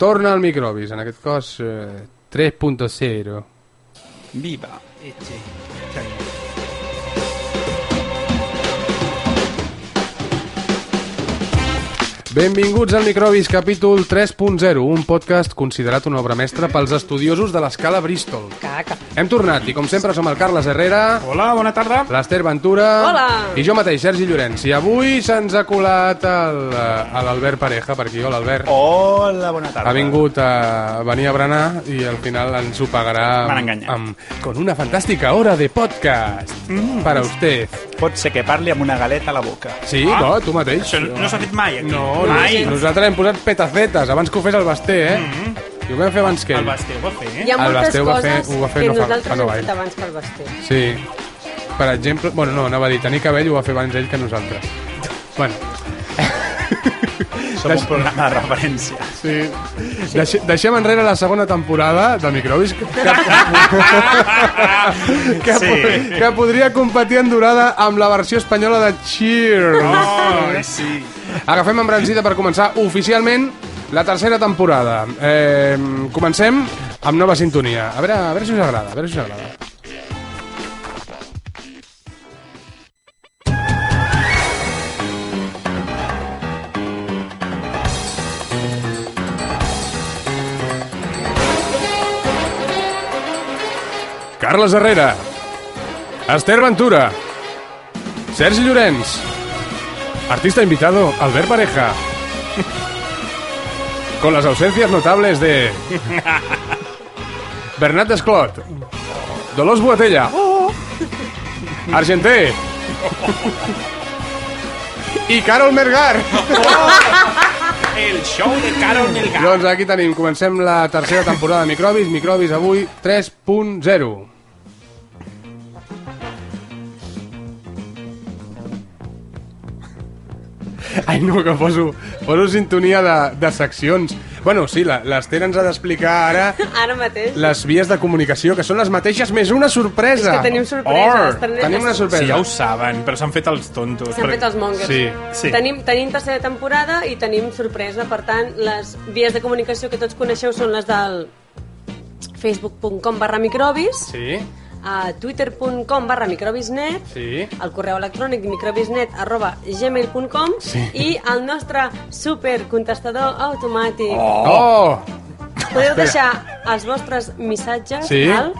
Torna al microbis, en aquest cos eh, 3.0. Viva. Benvinguts al Microbis, capítol 3.0, un podcast considerat una obra mestra pels estudiosos de l'escala Bristol. Caca. Hem tornat i, com sempre, som el Carles Herrera, Hola, bona tarda. l'Ester Ventura Hola. i jo mateix, Sergi Llorenç. I avui se'ns ha colat el, eh, l'Albert Pareja, per aquí. Hola, Albert. Hola, bona tarda. Ha vingut a venir a berenar i al final ens ho pagarà M'han amb, enganyat. amb, con una fantàstica hora de podcast mm. para usted. Pot ser que parli amb una galeta a la boca. Sí, ah, Ah. no, tu mateix. Això no s'ha fet mai, aquí. No, mai. no, nosaltres hem posat petacetes abans que ho fes el Basté, eh? Mm -hmm. I ho vam fer abans que El ell. Basté ho va fer, eh? Hi ha El moltes Basté ho va fer- coses ho va fer que no fa- nosaltres fa no hem gaire. fet abans que el Basté. Sí. Per exemple... Bueno, no, anava a dir, tenir cabell ho va fer abans ell que nosaltres. Bueno, Som un programa de referència. sí. Deixe, deixem enrere la segona temporada de Microbis que, que, Sí. que podria competir en durada amb la versió espanyola de Cheers. Ai, sí. Agafem embranzida per començar oficialment la tercera temporada. Eh, comencem amb nova sintonia. A veure, a veure si us agrada, a veure si us agrada. Carles Herrera, Esther Ventura, Sergi Llorenç, Artista invitado, Albert Pareja. Con las ausencias notables de... Bernat Esclot. Dolors Boatella. Argenté. I Carol Mergar. El show de Carol Melgar. Doncs aquí tenim, comencem la tercera temporada de Microbis. Microbis avui 3.0. Ai, no, que poso, poso sintonia de, de seccions. Bueno, sí, la- l'Ester ens ha d'explicar ara Ara mateix. les vies de comunicació, que són les mateixes, més una sorpresa. És que tenim sorpreses, Or, tenim- tenim una sorpresa. Sí, ja ho saben, però s'han fet els tontos. S'han fet els mongers. Sí, sí. Tenim, tenim tercera temporada i tenim sorpresa. Per tant, les vies de comunicació que tots coneixeu són les del facebook.com barra microbis, Sí, a twitter.com barra microbisnet, sí. al correu electrònic microbisnet arroba gmail.com i el nostre supercontestador automàtic. Oh! Podeu deixar els vostres missatges Sí. al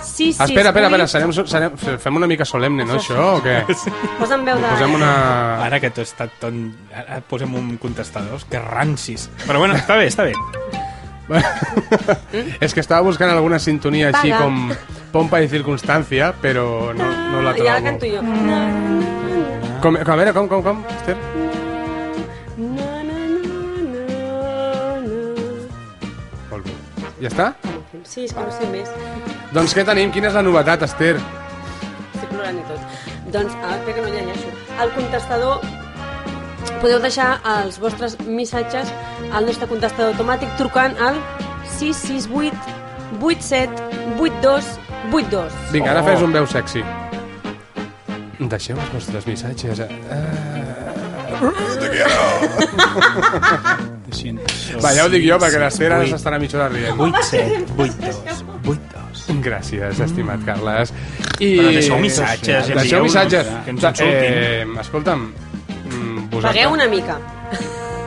668... espera, espera, espera, serem, serem, fem una mica solemne, no, això, o què? Posa'm veu de... Posem una... Ara que tot està ton... Ara posem un contestador. Que rancis. Però bueno, està bé, està bé. És que estava buscant alguna sintonia així Paga. com pompa i circumstància, però no, no la I ara trobo. canto jo. Com, com, a veure, com, com, com? Esther? Na, na, na, na, na. Molt bé. Ja està? Sí, és que no sé més. Doncs què tenim? Quina és la novetat, Esther? Estic plorant i tot. Doncs, ah, espera que no llegeixo. Al contestador podeu deixar els vostres missatges al nostre contestador automàtic trucant al 668 87 82 82. Vinga, ara Oh. fes un veu sexy. Deixeu els vostres missatges. eh? Ho sento. Va, ja ho dic jo, perquè l'Esther ara s'estarà mitja hora rient. 8, 7, 8, 2, 8, 2. Gràcies, estimat Carles. I... Però deixeu missatges, ja Deixeu digueu-nos, missatges. que ens insultin. Eh, escolta'm, mm, vosaltres... Pagueu una mica.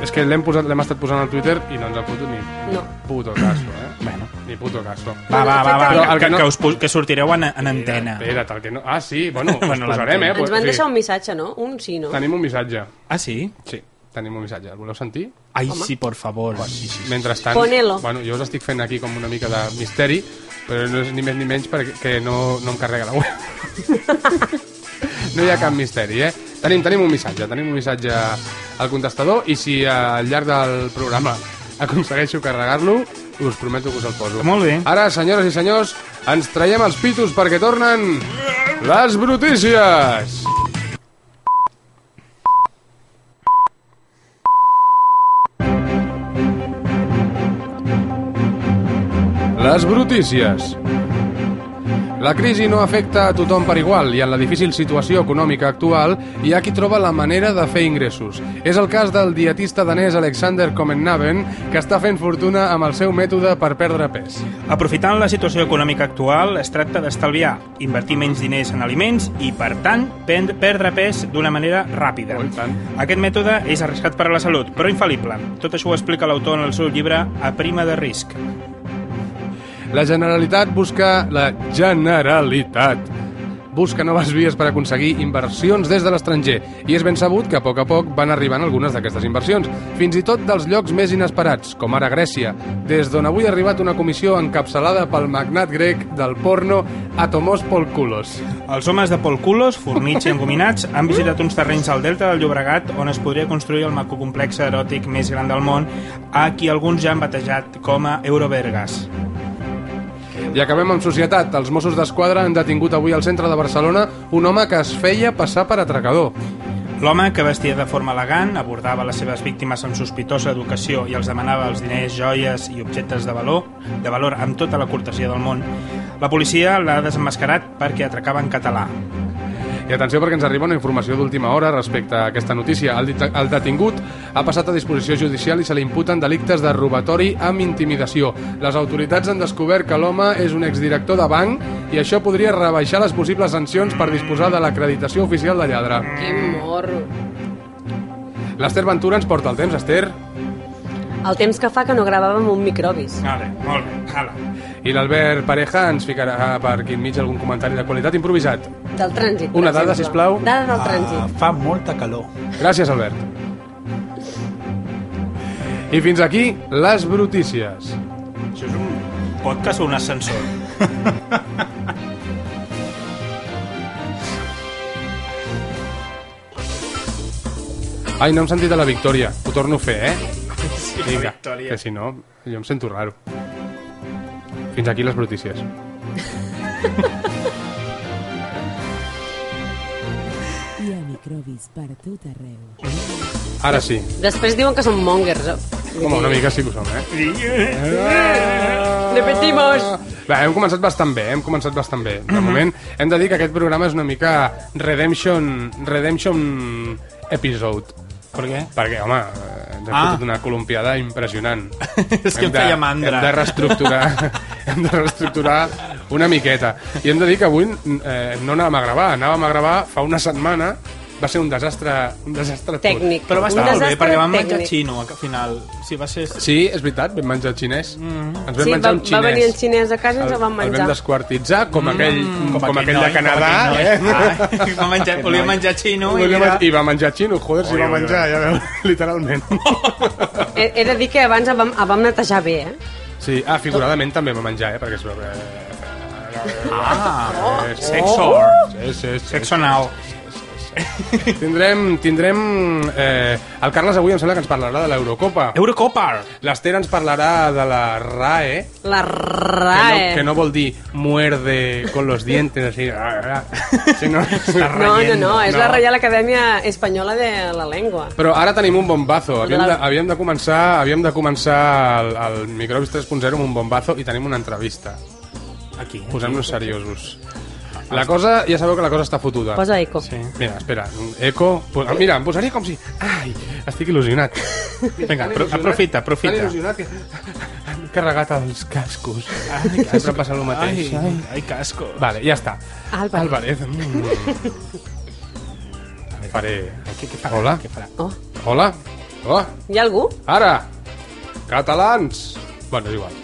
És que l'hem posat- l'hem estat posant al Twitter i no ens ha fotut ni No. puto caso, eh? Bueno. Ni puto caso. Va, va, va, va. Però el que, que no- que, us, pu- que sortireu en, en antena. Espera't, el que no... Ah, sí, bueno, bueno Bueno, posarem, eh? l'entenc. Ens pues, van deixar un sí. missatge, no? Un sí, no? Tenim un missatge. Ah, sí? Sí, tenim un missatge. El voleu sentir? Ai, sí, por favor. Mentrestant... Ponelo. Bueno, jo us estic fent aquí com una mica de misteri, però no és ni més ni menys perquè que no, no em carrega la web. No hi ha cap misteri, eh? Tenim, tenim un missatge, tenim un missatge al contestador i si eh, al llarg del programa aconsegueixo carregar-lo, us prometo que us el poso. Molt bé. Ara, senyores i senyors, ens traiem els pitos perquè tornen les brutícies! Les brutícies. La crisi no afecta a tothom per igual i en la difícil situació econòmica actual hi ha qui troba la manera de fer ingressos. És el cas del dietista danès Alexander Comennaven, que està fent fortuna amb el seu mètode per perdre pes. Aprofitant la situació econòmica actual, es tracta d'estalviar, invertir menys diners en aliments i, per tant, pen- perdre pes d'una manera ràpida. Oh, i tant. Aquest mètode és arriscat per a la salut, però infal·lible. Tot això ho explica l'autor en el seu llibre A prima de risc. La Generalitat busca... La Generalitat busca noves vies per aconseguir inversions des de l'estranger i és ben sabut que a poc a poc van arribant algunes d'aquestes inversions, fins i tot dels llocs més inesperats, com ara Grècia, des d'on avui ha arribat una comissió encapçalada pel magnat grec del porno Atomos Polkulos. Els homes de Polculos, fornits i engominats, han visitat uns terrenys al delta del Llobregat on es podria construir el macocomplex eròtic més gran del món, a qui alguns ja han batejat com a Eurovergas. I acabem amb societat. Els Mossos d'Esquadra han detingut avui al centre de Barcelona un home que es feia passar per atracador. L'home, que vestia de forma elegant, abordava les seves víctimes amb sospitosa educació i els demanava els diners, joies i objectes de valor, de valor amb tota la cortesia del món. La policia l'ha desenmascarat perquè atracava en català. I atenció perquè ens arriba una informació d'última hora respecte a aquesta notícia. El, det- el detingut ha passat a disposició judicial i se li imputen delictes de robatori amb intimidació. Les autoritats han descobert que l'home és un exdirector de banc i això podria rebaixar les possibles sancions per disposar de l'acreditació oficial de lladre. Que morro. L'Ester Ventura ens porta el temps, Ester, El temps que fa que no gravàvem un microbis. Vale, molt bé, ala. i l'Albert Pareja ens ficarà per aquí enmig algun comentari de qualitat improvisat. Del trànsit, per Una dada, exemple. sisplau. Ah. Dada del trànsit. Ah, fa molta calor. Gràcies, Albert. I fins aquí les brutícies. Això és un podcast o un ascensor? Ai, no em sentit a la victòria. Ho torno a fer, eh? Sí, Vinga, que si no, jo em sento raro. Fins aquí les brutícies. I a microbis per tot arreu. Ara sí. Després diuen que són mongers. eh? Home, una mica sí que ho som, eh? Repetimos. Bé, hem començat bastant bé, hem començat bastant bé. De moment, hem de dir que aquest programa és una mica Redemption... Redemption episode. Per què? Perquè, home, eh, ens hem Ah. fotut una columpiada impressionant. És que em Hem de- feia mandra. Hem de reestructurar, hem de reestructurar una miqueta. I hem de dir que avui eh, no anàvem a gravar. Anàvem a gravar fa una setmana. Va ser un desastre, un desastre tot. Tècnic. Però va estar Un molt bé, desastre perquè vam tècnic. menjar xino al final. Sí, va ser... Sí, és veritat, vam menjar xinès. Mm. Ens vam Sí, menjar va, un xinès. va venir en xinès a casa i ens el van El vam menjar. desquartitzar, Mm. com aquell, com, com aquell de Canadà. Canadà, eh? Va menjar, volia menjar xino i... I, Era... va, I va menjar xino, joder, si Oi, va oi, menjar, ja veu, literalment. He, he de dir que abans el vam, el vam netejar bé, eh? Sí, ah, figuradament també va menjar, eh, perquè es veu... que- Ah, Eh, sí, sexo. sí, sí, sí. Sexo anal. Tindrem, tindrem... Eh, el Carles avui em sembla que ens parlarà de l'Eurocopa. Eurocopa. L'Ester ens parlarà de la RAE, La que no, RAE. que no vol dir muerde con los dientes, així... ah, ah, Sinó... no, no, no, és No. la Reial Acadèmia Espanyola de la Lengua. Però ara tenim un bombazo. Havíem de, La- havíem de començar, havíem de començar el, el Microbis 3.0 amb un bombazo i tenim una entrevista. Aquí. Posem-nos seriosos. La cosa, ja sabeu que la cosa està fotuda. Posa eco. Sí. Mira, espera, eco... po- ah, Mira, em posaria com si... Ai, estic il·lusionat. Vinga, Apro- aprofita, aprofita. Tan il·lusionat que... Han carregat els cascos. Ai, Sempre passa el mateix. Ai, ai, ai, casco. Vale, ja està. Álvarez. Álvarez. Mm. Faré... Què, què Hola. Què farà? Oh, Hola. Hola. hi ha algú? Ara! Catalans! Bueno, és igual.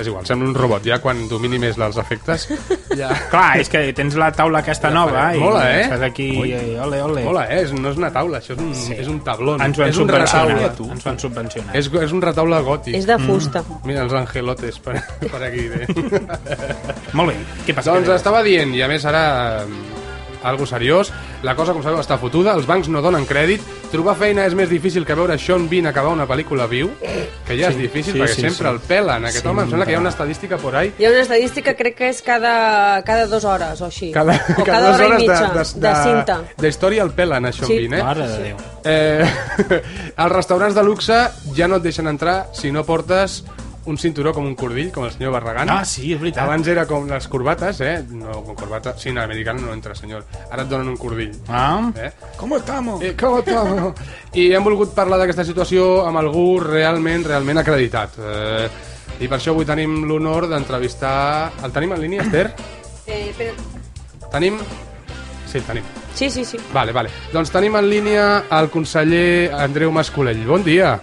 És igual, sembla un robot. Ja quan domini més els efectes... Ja... Clar, és que tens la taula aquesta nova faré. i Mola, eh? estàs aquí... Ui. eh, Ole, ole. Hola, eh? És, no és una taula, això és un, sí. és un tabló. Ens ho han és un eh, subvencionat. retaule. Ens ho han subvencionat. És, és un retaule gòtic. És de fusta. Mira, els angelotes per, per aquí. Bé. Molt bé. Què passa? doncs Què estava dient, i a més ara eh, algo seriós, la cosa, com sabeu, està fotuda, els bancs no donen crèdit, trobar feina és més difícil que veure Sean Bean acabar una pel·lícula viu, que ja és difícil sí, perquè sí, sempre sí. el pelen. Aquest Sí, home, em sembla que hi ha clar. una estadística por ahí Hi ha una estadística, crec que és cada, cada dues hores o així. Cada, o cada, dues hora hores i de, mitja de, de, cinta. De història el pelen, això, Sí. sí. Vin, eh? Mare de Déu. eh? Els restaurants de luxe ja no et deixen entrar si no portes un cinturó com un cordill, com el senyor Barragán. Ah, sí, és veritat. Abans era com les corbates, eh? No, con corbata... Sí, en americano no entra, senyor. Ara et donen un cordill. Ah, Eh? ¿Cómo estamos? Eh, com estamos? I hem volgut parlar d'aquesta situació amb algú realment, realment acreditat. Eh, I per això avui tenim l'honor d'entrevistar... El tenim en línia, Esther? Eh, però... Tenim... Sí, el tenim. Sí, sí, sí. Vale, vale. Doncs tenim en línia el conseller Andreu Mascolell. Bon dia.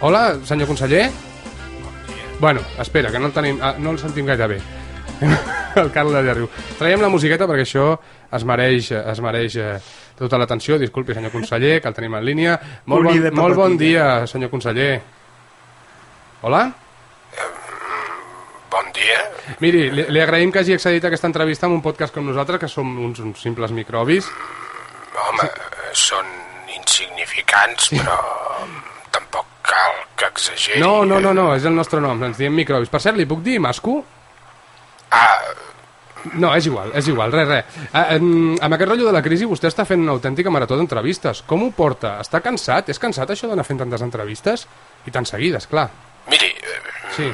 Hola, senyor conseller. Bueno, espera, que no el, tenim, ah, no el sentim gaire bé. el Carles ja riu. Traiem la musiqueta perquè això es mereix, es mereix eh, tota l'atenció. Disculpi, senyor conseller, que el tenim en línia. Molt Uni bon, de molt bon pepatilla. dia, senyor conseller. Hola? Bon dia. Miri, li, li agraïm que hagi accedit a aquesta entrevista amb un podcast com nosaltres, que som uns, uns simples microbis. Home, eh, són insignificants, però tampoc cal que exageri. No, no, no, no, és el nostre nom, ens diem microbis. Per cert, li puc dir Masco? Ah, No, és igual, és igual, res, res. Ah, em, amb aquest rotllo de la crisi vostè està fent una autèntica marató d'entrevistes. Com ho porta? Està cansat? És cansat això d'anar fent tantes entrevistes? I tan seguides, clar. miri, eh, Sí, eh,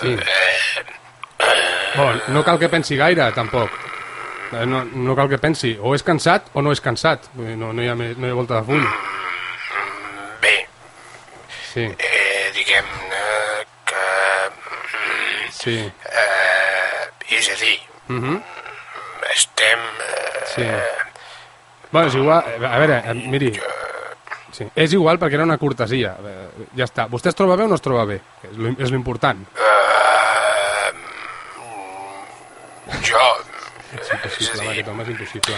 sí. Bon, no cal que pensi gaire, tampoc. Eh, No, no cal que pensi. O és cansat o no és cansat. Vull dir, No, no, hi, ha, me- no hi ha volta de full. bé, Sí, eh, diguem-ne que... sí, Eh, és a dir, Mhm. estem... Eh, sí. Bueno, és igual... eh, A veure, eh, miri... Sí. És igual perquè era una cortesia. Eh, Ja està. Vostè es troba bé o no es troba bé? És lo- És l'important. eh, jo... És impossible, amb aquest home, és impossible.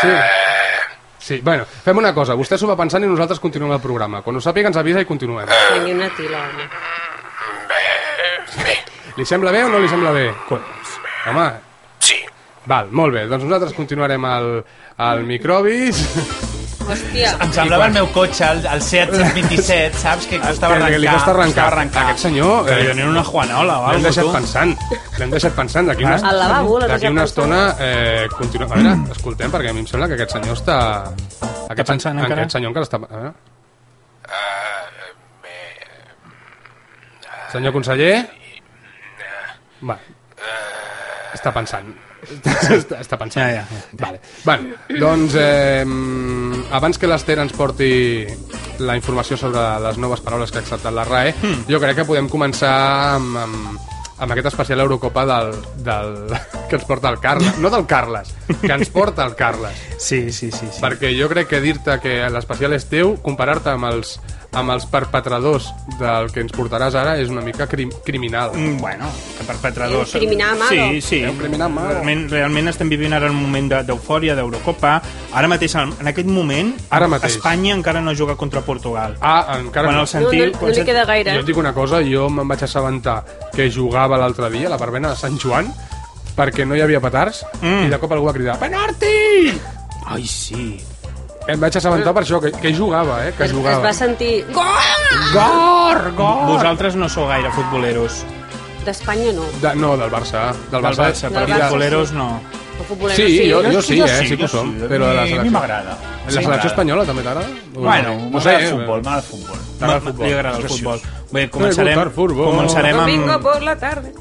Sí. eh, Sí, bueno, fem una cosa. Vostè s'ho va pensant i nosaltres continuem el programa. Quan ho sàpiga ens avisa i continuem. Vingui una tila, home. Bé, Li sembla bé o no li sembla bé? Eh, Collons. Home, sí, val, molt bé. Doncs nosaltres continuarem al, al Microbis. Hòstia. Em semblava el meu cotxe, el, el Seat 127, saps? Que costava Que arrencar. li costa arrencar. costava arrencar. Aquest senyor... Però jo Eh, n'era una Juanola o L'hem alguna deixat cosa. pensant. L'hem deixat pensant. D'aquí una, Al lavabo l'ha d'aquí deixat una pensant. estona eh, continuem. A veure, escoltem, perquè a mi em sembla que aquest senyor està... Aquest, pensant senyor- encara? Aquest senyor encara està... A veure. Senyor conseller? Va. Està pensant. està, està pensant. Ja, ja, ja. Vale. Bueno, doncs, eh, abans que l'Ester ens porti la informació sobre les noves paraules que ha acceptat la RAE, jo crec que podem començar amb, amb, amb aquest especial Eurocopa del, del, que ens porta el Carles. No del Carles, que ens porta el Carles. Sí, sí, sí. sí. Perquè jo crec que dir-te que l'especial és teu, comparar-te amb els, amb els perpetradors del que ens portaràs ara és una mica crim, criminal. Mm, Bueno, que perpetradors... És un criminal malo. Sí, sí. És un criminal malo. Realment, realment estem vivint ara un moment de- d'eufòria, d'Eurocopa. Ara mateix, en en aquest moment, Ara mateix. Espanya encara no juga contra Portugal. Ah, encara Quan no. el sentim... No, no- no quan li sent- queda gaire. Jo et dic una cosa, jo me'n vaig assabentar que jugava l'altre dia a la verbena de Sant Joan perquè no hi havia petards Mm. i de cop algú va cridar «Penalti!» Ai, sí. Em vaig assabentar per això, que, que jugava, eh? Que Es, es jugava. va sentir... Gol! Gor! Gor! Vosaltres no sou gaire futboleros. D'Espanya no. De, no, del Barça. Del Del Barça. Barça, però Del Barça, futboleros no. El futbolero Sí, sí. jo, jo sí, eh? Sí que ho jo som. sí. Però la A mi- A mi selecció, m'agrada. la selecció espanyola també t'agrada? Bueno, no sé, m'agrada el eh? futbol, m'agrada el futbol. T'agrada el Ma- futbol. Li agrada el Preciós. futbol. Bé, començarem, gusta el futbol. començarem Domingo amb... por la tarde.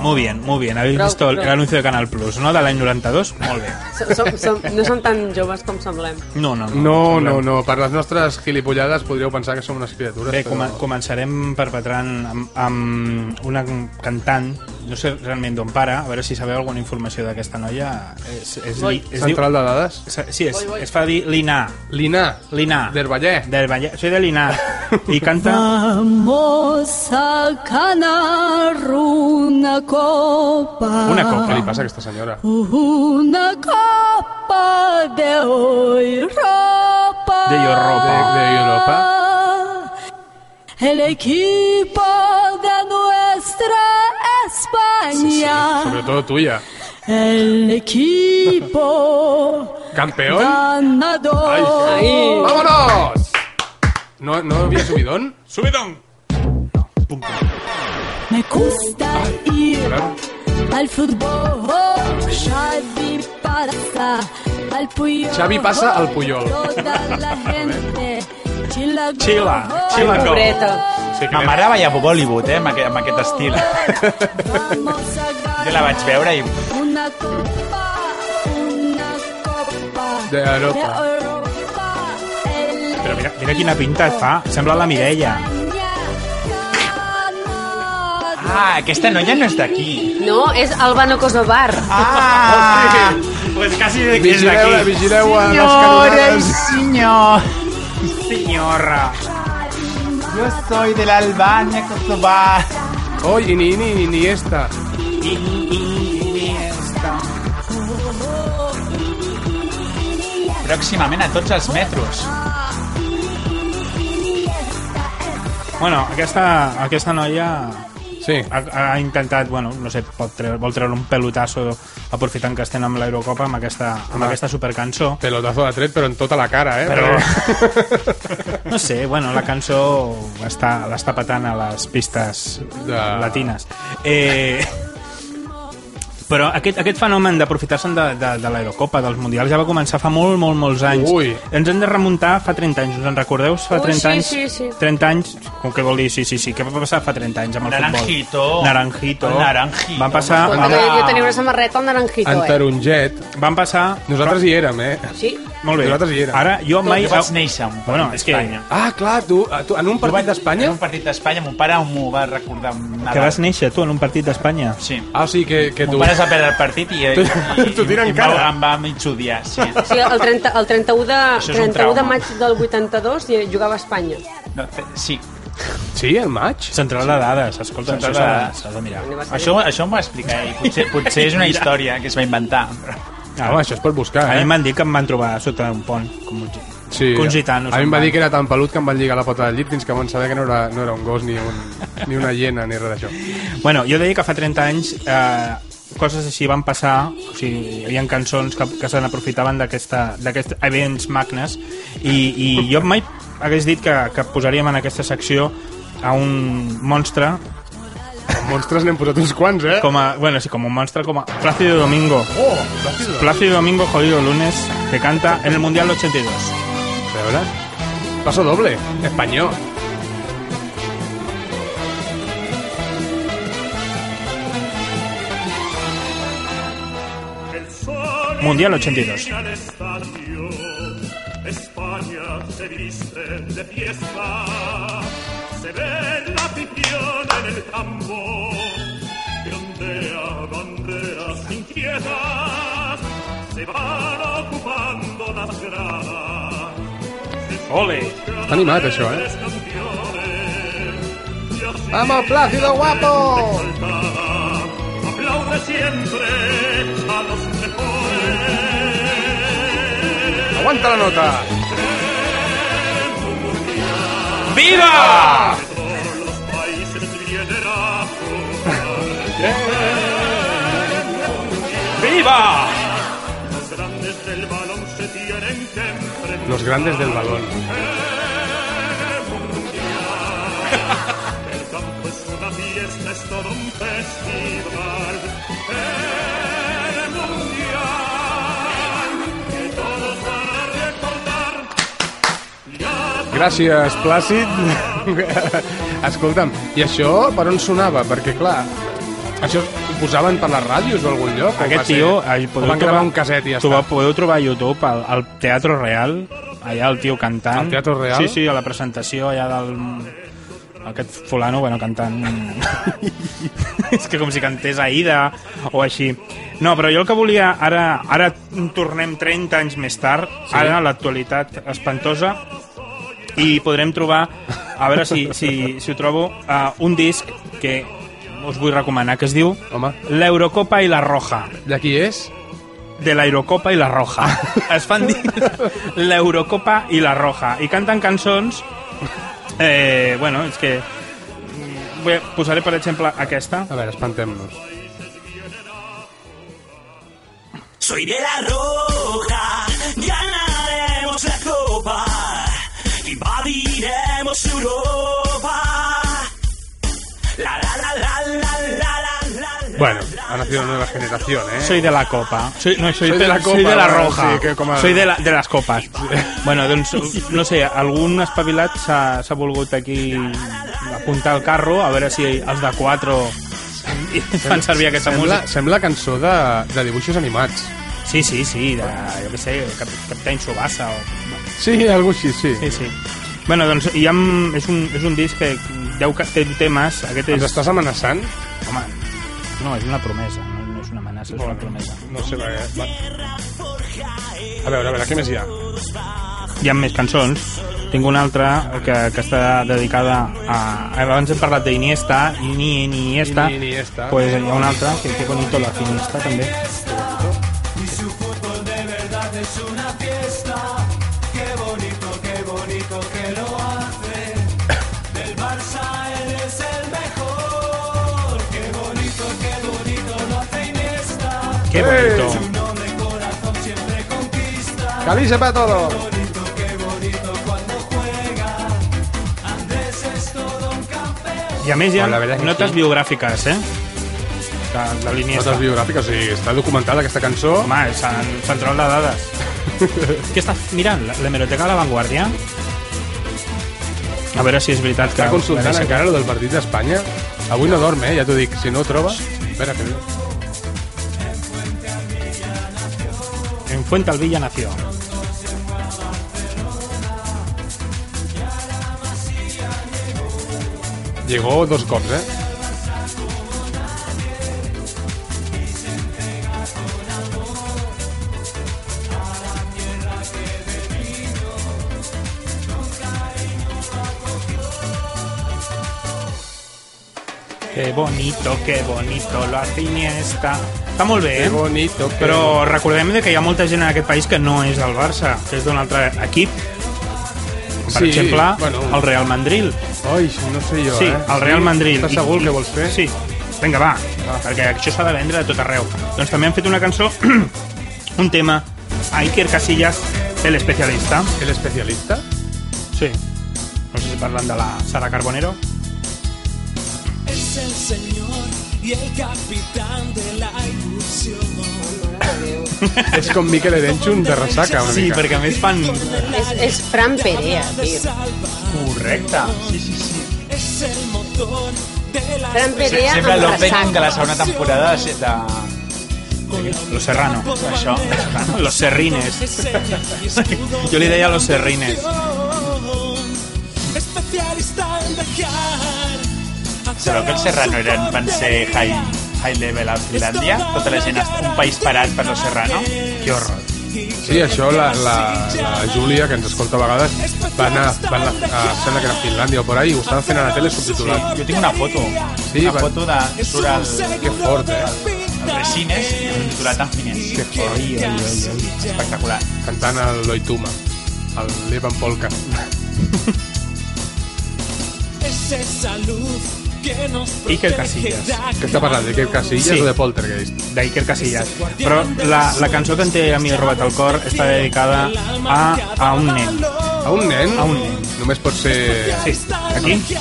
Muy bien, muy bien. Habéis Prou, visto el- prou. l'anuncio de Canal Plus, no? De l'any 92? Molt bé. Som, som, som, no som tan joves com semblem. No, no, no. No, no, no. Per les nostres gilipollades podríeu pensar que som unes criatures. Bé, però- com començarem perpetrant amb, amb una cantant, no sé realment d'on para, a veure si sabeu alguna informació d'aquesta noia. És, és, Voi. es Central de dades. diu, se- sí, es, es fa dir Lina, Lina. Lina. Del Vallès. Del Vallès, soy de Lina. I canta... Vamos a ganar una copa. Una copa. Què li passa a aquesta senyora? Una copa de Europa. De, De Europa. de Europa. El equipo de nuestra España. Sobretot tuya. El equipo Campeón. ganador. Ai. ¡Vámonos! ¿No, no había subidón? Subidón! Me gusta ir al fútbol. Xavi pasa Xavi pasa al al Puyol. Puyol. Toda la gente Xila. Xila, xila com. Pobreta. Sí, Ma mare veia Bollywood, eh, amb aquest, amb aquest estil. Vamos a Jo la vaig veure i... una copa, una copa De de Europa. Europa. El Però mira, mira quina pinta et fa. Sembla la Mireia. Ah, aquesta noia no és d'aquí. No, és Albano Kosovar. Ah! Pues quasi és d'aquí. Vigileu, vigileu a les Senyores canonades. i senyor, Senyorra. yo soy de la Albania, Kosovar. Oh, i ni, ni, ni, ni esta. Pròximament a tots els metros. Bueno, aquesta, aquesta noia Sí. ha, ha intentat, bueno, no sé, pot treure, vol treure un pelotasso aprofitant que estem amb l'Eurocopa amb aquesta, amb aquesta supercançó. Pelotazo de tret, però en tota la cara, eh? Però- Perquè- No sé, bueno, la cançó està- l'està petant a les pistes De- latines. Eh... Però aquest, aquest fenomen d'aprofitar-se'n de, de, de l'Aerocopa, dels Mundials, ja va començar fa molt, molt, molts anys. Ui. Ens hem de remuntar fa 30 anys, us en recordeu? Fa Ui, 30 sí, anys, sí, sí. 30 anys, com que vol dir, sí, sí, sí, què va passar fa 30 anys amb el Naranjito. futbol? Naranjito. El Naranjito. Van passar... Escolta, Home. que Van, jo, jo tenia una samarreta al naranjito, En eh? taronget. van passar... Nosaltres hi érem, eh? Sí? Molt bé. Nosaltres hi érem. Ara, jo mai... Jo vaig néixer en un Bueno, partit és que- d'Espanya. Ah, clar, tu, a tu en un Jo vaig- partit d'Espanya? En un partit d'Espanya, mon pare m'ho va recordar un Nadal. Que vas néixer, tu, en un partit d'Espanya. Sí. Ah, o sigui que, que Mon tu... pare es va perdre el partit i, i, i, T'ho tira i, em, encara. va, em va mig odiar, sí. Sí, el, 30, el 31, de, Això és un 31 de trauma. maig del 82 i jugava a Espanya. No, fe- sí. Sí, el maig? Central de dades, escolta, Central això s'ha de de, dades. s'ha de mirar. Això, això m'ho va explicar ell. Potser, potser és una història que es va inventar. però- Ah, home, això és per buscar, A eh? mi m'han dit que em van trobar sota un pont, com un, Sí. que un gitano. A mi se'n em va van. dir que era tan pelut que em van lligar la pota del llit fins que van saber que no era, no era un gos ni, un, ni una hiena ni res d'això. Bueno, jo deia que fa 30 anys eh, coses així van passar, o sigui, hi havia cançons que, que se n'aprofitaven d'aquesta- d'aquests events magnes, i, i jo mai hagués dit que, que posaríem en aquesta secció a un monstre Amb monstres n'hem posat uns quants, eh? com a, bueno, sí, com un monstre com a Plácido Domingo Oh, Plácido. Plácido Domingo Jodido Lunes que canta en el Mundial 82 A veure... Paso doble, espanyol. Mundial 82 al estadio, España se viste de fiesta, se ve la afición en el campo, ondea banderas inquietas, se van ocupando las gradas. Ole! Està animat, això, eh? Campeones, y así Vamos, Plácido Guapo! aplaude siempre a los mejores. Aguanta la nota! Viva! Por los países liderazgo. Viva! Los grandes del balón se tienen que enfrentar. Los grandes del balón. El campo es una fiesta, es todo un festival. El mundial que todos van a recordar. Gràcies, Plàcid. Escolta'm, i això per on sonava? Perquè, clar, això ho posaven per les ràdios o algun lloc? o va Aquest ser- tio... o van gravar un caset i ja Tu està. podeu trobar a YouTube al, al Teatro Real, allà el tio cantant. Al Teatro Real? Sí, sí, a la presentació allà del... Aquest fulano, bueno, cantant... És que com si cantés Aida o així. No, però jo el que volia... Ara, ara tornem 30 anys més tard, sí. ara a l'actualitat espantosa, i podrem trobar, a veure si, si, si ho trobo, uh, un disc que us vull recomanar, que es diu Home, L'Eurocopa i la Roja i aquí és? de la Eurocopa i la Roja. Es fan dir l'Eurocopa i la Roja. I canten cançons... Eh, bueno, és que... mm, Bé, posaré, per exemple, aquesta. A veure, espantem-nos. Soy de la roja, ganaremos la copa, invadiremos Europa. La la la la la la la la la. Bueno, ha nacido una nueva generación, ¿eh? Soy de la copa. Soy, no, soy, Soy de la Soy copa, de la bueno, roja. sí, que com a- Soy de, la, de les copes. bueno, doncs, no sé, algun espavilat s'ha s'ha volgut aquí apuntar al carro, a veure si els de 4 fan servir aquesta Sembla, música. sembla cançó de, de dibuixos animats. Sí, sí, sí, de, jo què sé, Cap, Captain Subasa o... Sí, algo així, sí. Sí, sí. Bueno, doncs hi ha, és, un, és un disc que deu, ca- té temes, aquest Ens és... estàs amenaçant? Home, no, és una promesa, no, no és una amenaça, és una promesa. No sé, va, va. A veure, a veure, què més hi ha? hi ha més cançons tinc una altra que, que està dedicada a... abans hem parlat d'Iniesta Ini, Iniesta, Ini- Iniesta. pues hi ha una altra que té bonito la finista també Qué bonito. ¡Calice para todo! I a més hi ha Bueno, la verdad que notes sí. biogràfiques, eh? De, de l'Iniesta. Notes biogràfiques, sí, està documentada aquesta cançó. Home, el cen- central de dades. Què estàs mirant? La- L'hemeroteca de la Vanguardia? A veure si és veritat que... Està va consultant néixer- encara lo del partit d'Espanya. Avui no dorm, eh? Ja t'ho dic. Si no ho troba... Espera, que... En Fuente Alvilla nació. Llegó dos cops, eh? Que bonito, que bonito, la Iniesta. Està molt bé, Que eh? bonito. Que... Però recordem de que hi ha molta gent en aquest país que no és del Barça, que és d'un altre equip. Per Sí, exemple, bueno. el Real Madrid. Ai, no sé jo, Sí, eh? el Real Madrid. Estàs segur que vols fer? Sí. Vinga, va, perquè això s'ha de vendre a tot arreu. Doncs també han fet una cançó, un tema, a Iker Casillas, el especialista. El especialista? Sí. No sé si parlen de la Sara Carbonero. Es el señor y el capitán de la ilusión. És com Miquel Erenchun de Ressaca, una mica. a més fan... És, és Fran Perea, tio. Correcte. Sí, sí, sí. Es el motor de la Fran Perea Sembla amb l'opening de ressaca. la segona temporada de... de... Los Serrano. Això. Los Serrines. Jo li deia Los Serrines. Especialista en dejar. Sabeu que els Serrano eren, van ser high, high level a Finlàndia? Tota la gent, està- un país parat per los Serrano? Que horror. Sí, això, la, la, la Júlia, que ens escolta a vegades, va anar, va anar a, sembla que era a Finlàndia o por ahí, ho estaven fent a la tele subtitulat. Jo tinc una foto. Sí, una va- foto de... Surt al... Que fort, eh? al Resines i un titulat en finès. Que fort. Oi, oi, oi, oi. Espectacular. Cantant el Loituma, el Levan Polka. Es esa luz que nos Iker Casillas. Què està parlant, d'aquest Casillas Sí. o de Poltergeist? d'Iker Casillas. Però la, la cançó que em té a mi robat al cor està dedicada a, a un nen. A un nen? A un nen. Només pot ser... Eh, Sí, aquí. A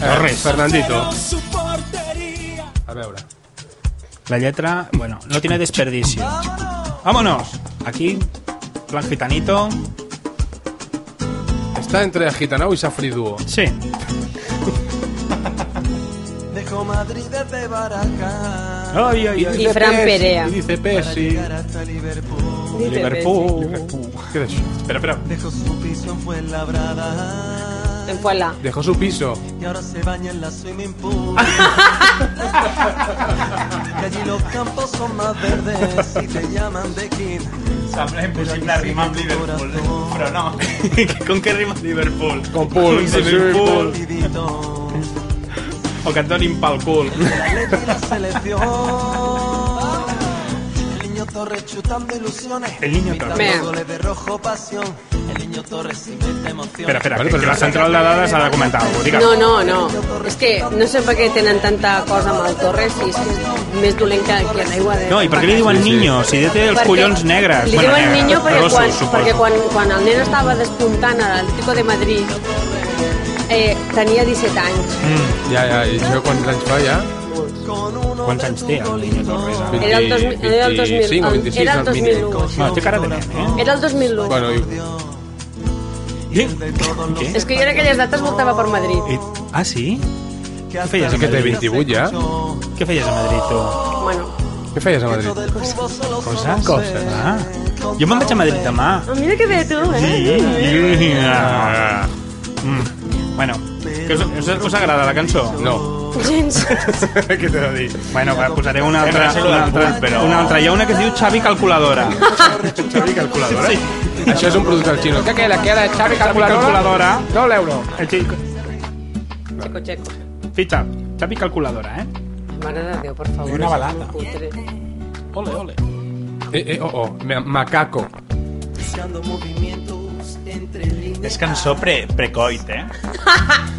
Torres. Fernandito. su portería. A veure. La letra, bueno, no tiene desperdicio. Vámonos. Aquí, plan gitanito. Està entre Gitanau i Safri Duo. Sí. Dejo Madrid desde Baracas Ai, ai, ai. I Fran Perea. I dice Pessi. hasta Liverpool. Liverpool. Què d'això? Espera, espera. Dejo su piso en Fuenlabrada En Fuela. Dejó su piso. y ahora se baña en la swimming pool. que allí los campos son más verdes y te llaman de King. Sembla impossible rimar amb Liverpool, ¿eh? però no. Com que rima Liverpool? Con pool, Sí, Liverpool. Olvidito. O que et donin pel cul. Leti la selección. El niño Torres chutando ilusiones. El niño Torres. Torres. Mea. goles de rojo pasión. El niño Torres inventa emoción. Espera, espera, Bueno, que, però que la central de dades ha de comentar alguna cosa. Digue'm. No, no, no. És que no sé per què tenen tanta cosa amb el Torres i és que és més dolent que, que l'aigua de... No, i per què li diuen Sí, sí. niño? Si ja té els Perquè collons negres. Li diuen negres, niño perquè, grossos, quan, suposo. perquè quan, quan el nen estava despuntant a l'Atlético de Madrid eh, tenia 17 anys. Mm. Ja, ja, i això quants anys fa, ja? Con uno quants anys té el Niño Torres? ara? Era el dos mil- era el dos mil- 25 o el- 26, era el doncs, 2001. Bueno, té cara de nen, eh? Era el 2001. Bueno, i, Què? Què? És que jo en aquelles dates voltava per Madrid. Eh, Ah, sí? Què feies a que té Madrid? 28 ja. Què feies a Madrid, tu? Bueno, Què feies a Madrid? Coses? Coses. Ah. Jo me'n vaig a Madrid demà. oh, mira que bé, tu, eh? Ah. Mm. Bueno, que us, us, us agrada la cançó? No. Gens. Què t'he de dir? Bueno, va, posaré una Hem altra, resolt una el altra, punt, però- una altra. Hi ha una que es diu Xavi Calculadora. Xavi Calculadora? Sí. Això és un producte del xino. Què queda? Queda Xavi Calculadora? Calculadora. 9 l'euro. Eh, xic- Checo, checo. Fitxa, Xavi Calculadora, eh? Mare de Déu, per favor. Una és balada. molt cutre. Ole, ole. Eh, eh, oh, oh. Ma- Macaco. Buscando movimientos entre líneas. És cançó pre precoit, eh?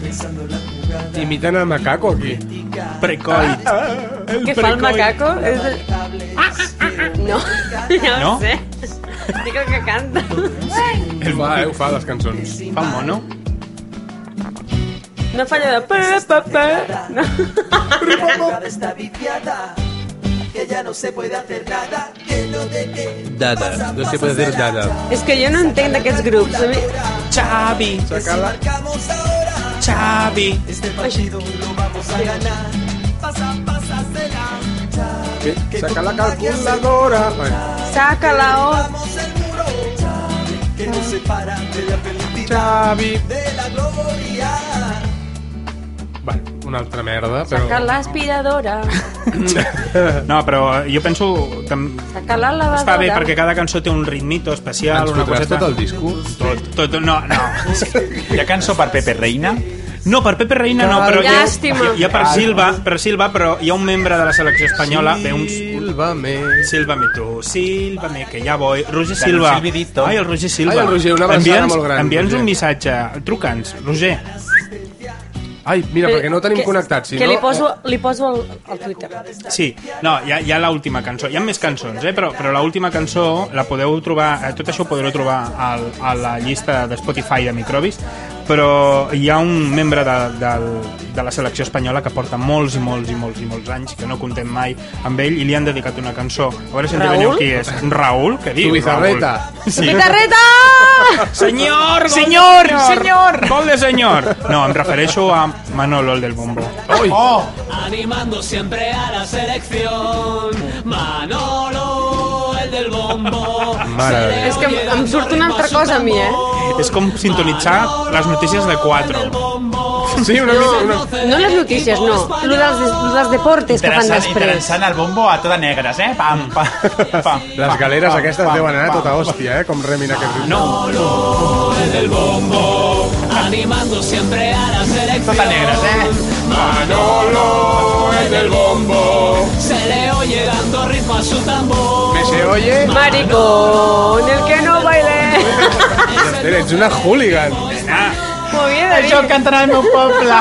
Pensando en la jugada. Imiten el macaco aquí. Precoit. Què fa el macaco? És... el- Ah, No, ja ho No? sé. Dic el que canta. Ell va, eh, ho fa, les cançons. Fa mono. No falla de... Pa, pa, pa. No. La jugada está viciada. Que ya no se puede hacer nada. Que no te quede. Dada. No se puede decir dada. És que jo no entenc d'aquests grups. A mi... Xavi, Sacala. Marcamos ahora. Xavi. Este partido lo vamos a ganar. Pasa, pásasela. Saca la calculadora. Bueno, Saca la O. Vamos el muro. Que nos separa de la felicidad. Xavi. De la gloria. Va, una altra merda, però... Saca l'aspiradora. No, però jo penso... tam- Saca la lavadora. Està bé, perquè cada cançó té un ritmito especial, Ens una fotràs coseta... tot el disco? Tot, tot, no, no. Hi ha cançó per Pepe Reina? No, per Pepe Reina no, però hi ha, Llàstima. hi ha per Silva, per Silva, però hi ha un membre de la selecció espanyola, bé, un, un Silvame. Silva me tu, Silva me, que ja voy, Roger Silva. Silvi Dito. Ai, el Roger Silva. Ai, el Roger, una abraçada Envia'ns- molt gran, Envia'ns un Roger. missatge, truca'ns, Roger. Ai, mira, perquè no tenim Eh, Que- connectat, si Que li no... eh. poso, li poso al, al Twitter. Sí, no, hi ha, hi ha l'última cançó. Hi ha més cançons, eh? però, però l'última cançó la podeu trobar, eh, tot això ho podreu trobar al, a la llista de Spotify de Microbis, però hi ha un membre de, de, de la selecció espanyola que porta molts i molts i molts i molts anys, que no contem mai amb ell, i li han dedicat una cançó. A veure si endevineu Raül? qui és. Raül, què eh, diu? Tu bizarreta. Raül? Sí. Guitarreta! Senyor! Senyor! Senyor! Gol de senyor! No, em refereixo a Manolo, el del bombo. Ai, Oh! Animando siempre a la selección. Manolo, el del bombo. mare de Déu. És que em, em surt una altra cosa a mi, eh? És com sintonitzar les notícies de 4. Sí, una mica... Una... No les notícies, no. Lo dels, lo dels deportes que fan Interessant, després. interessant el bombo a tota negres, eh? Pam, pam, pam. Les pam, galeres pam, aquestes pam, deuen anar a pam, tota pam. hòstia, eh? Com remin aquest ritme. No, El del bombo. Animando siempre a la selección. Tota negres, eh? Manolo es del bombo. Se le oye dando ritmo a su tambor. Que se oye... Maricón, el que no baile. Esther, ets una hooligan. M'ho havia de dir. Això canten al meu poble.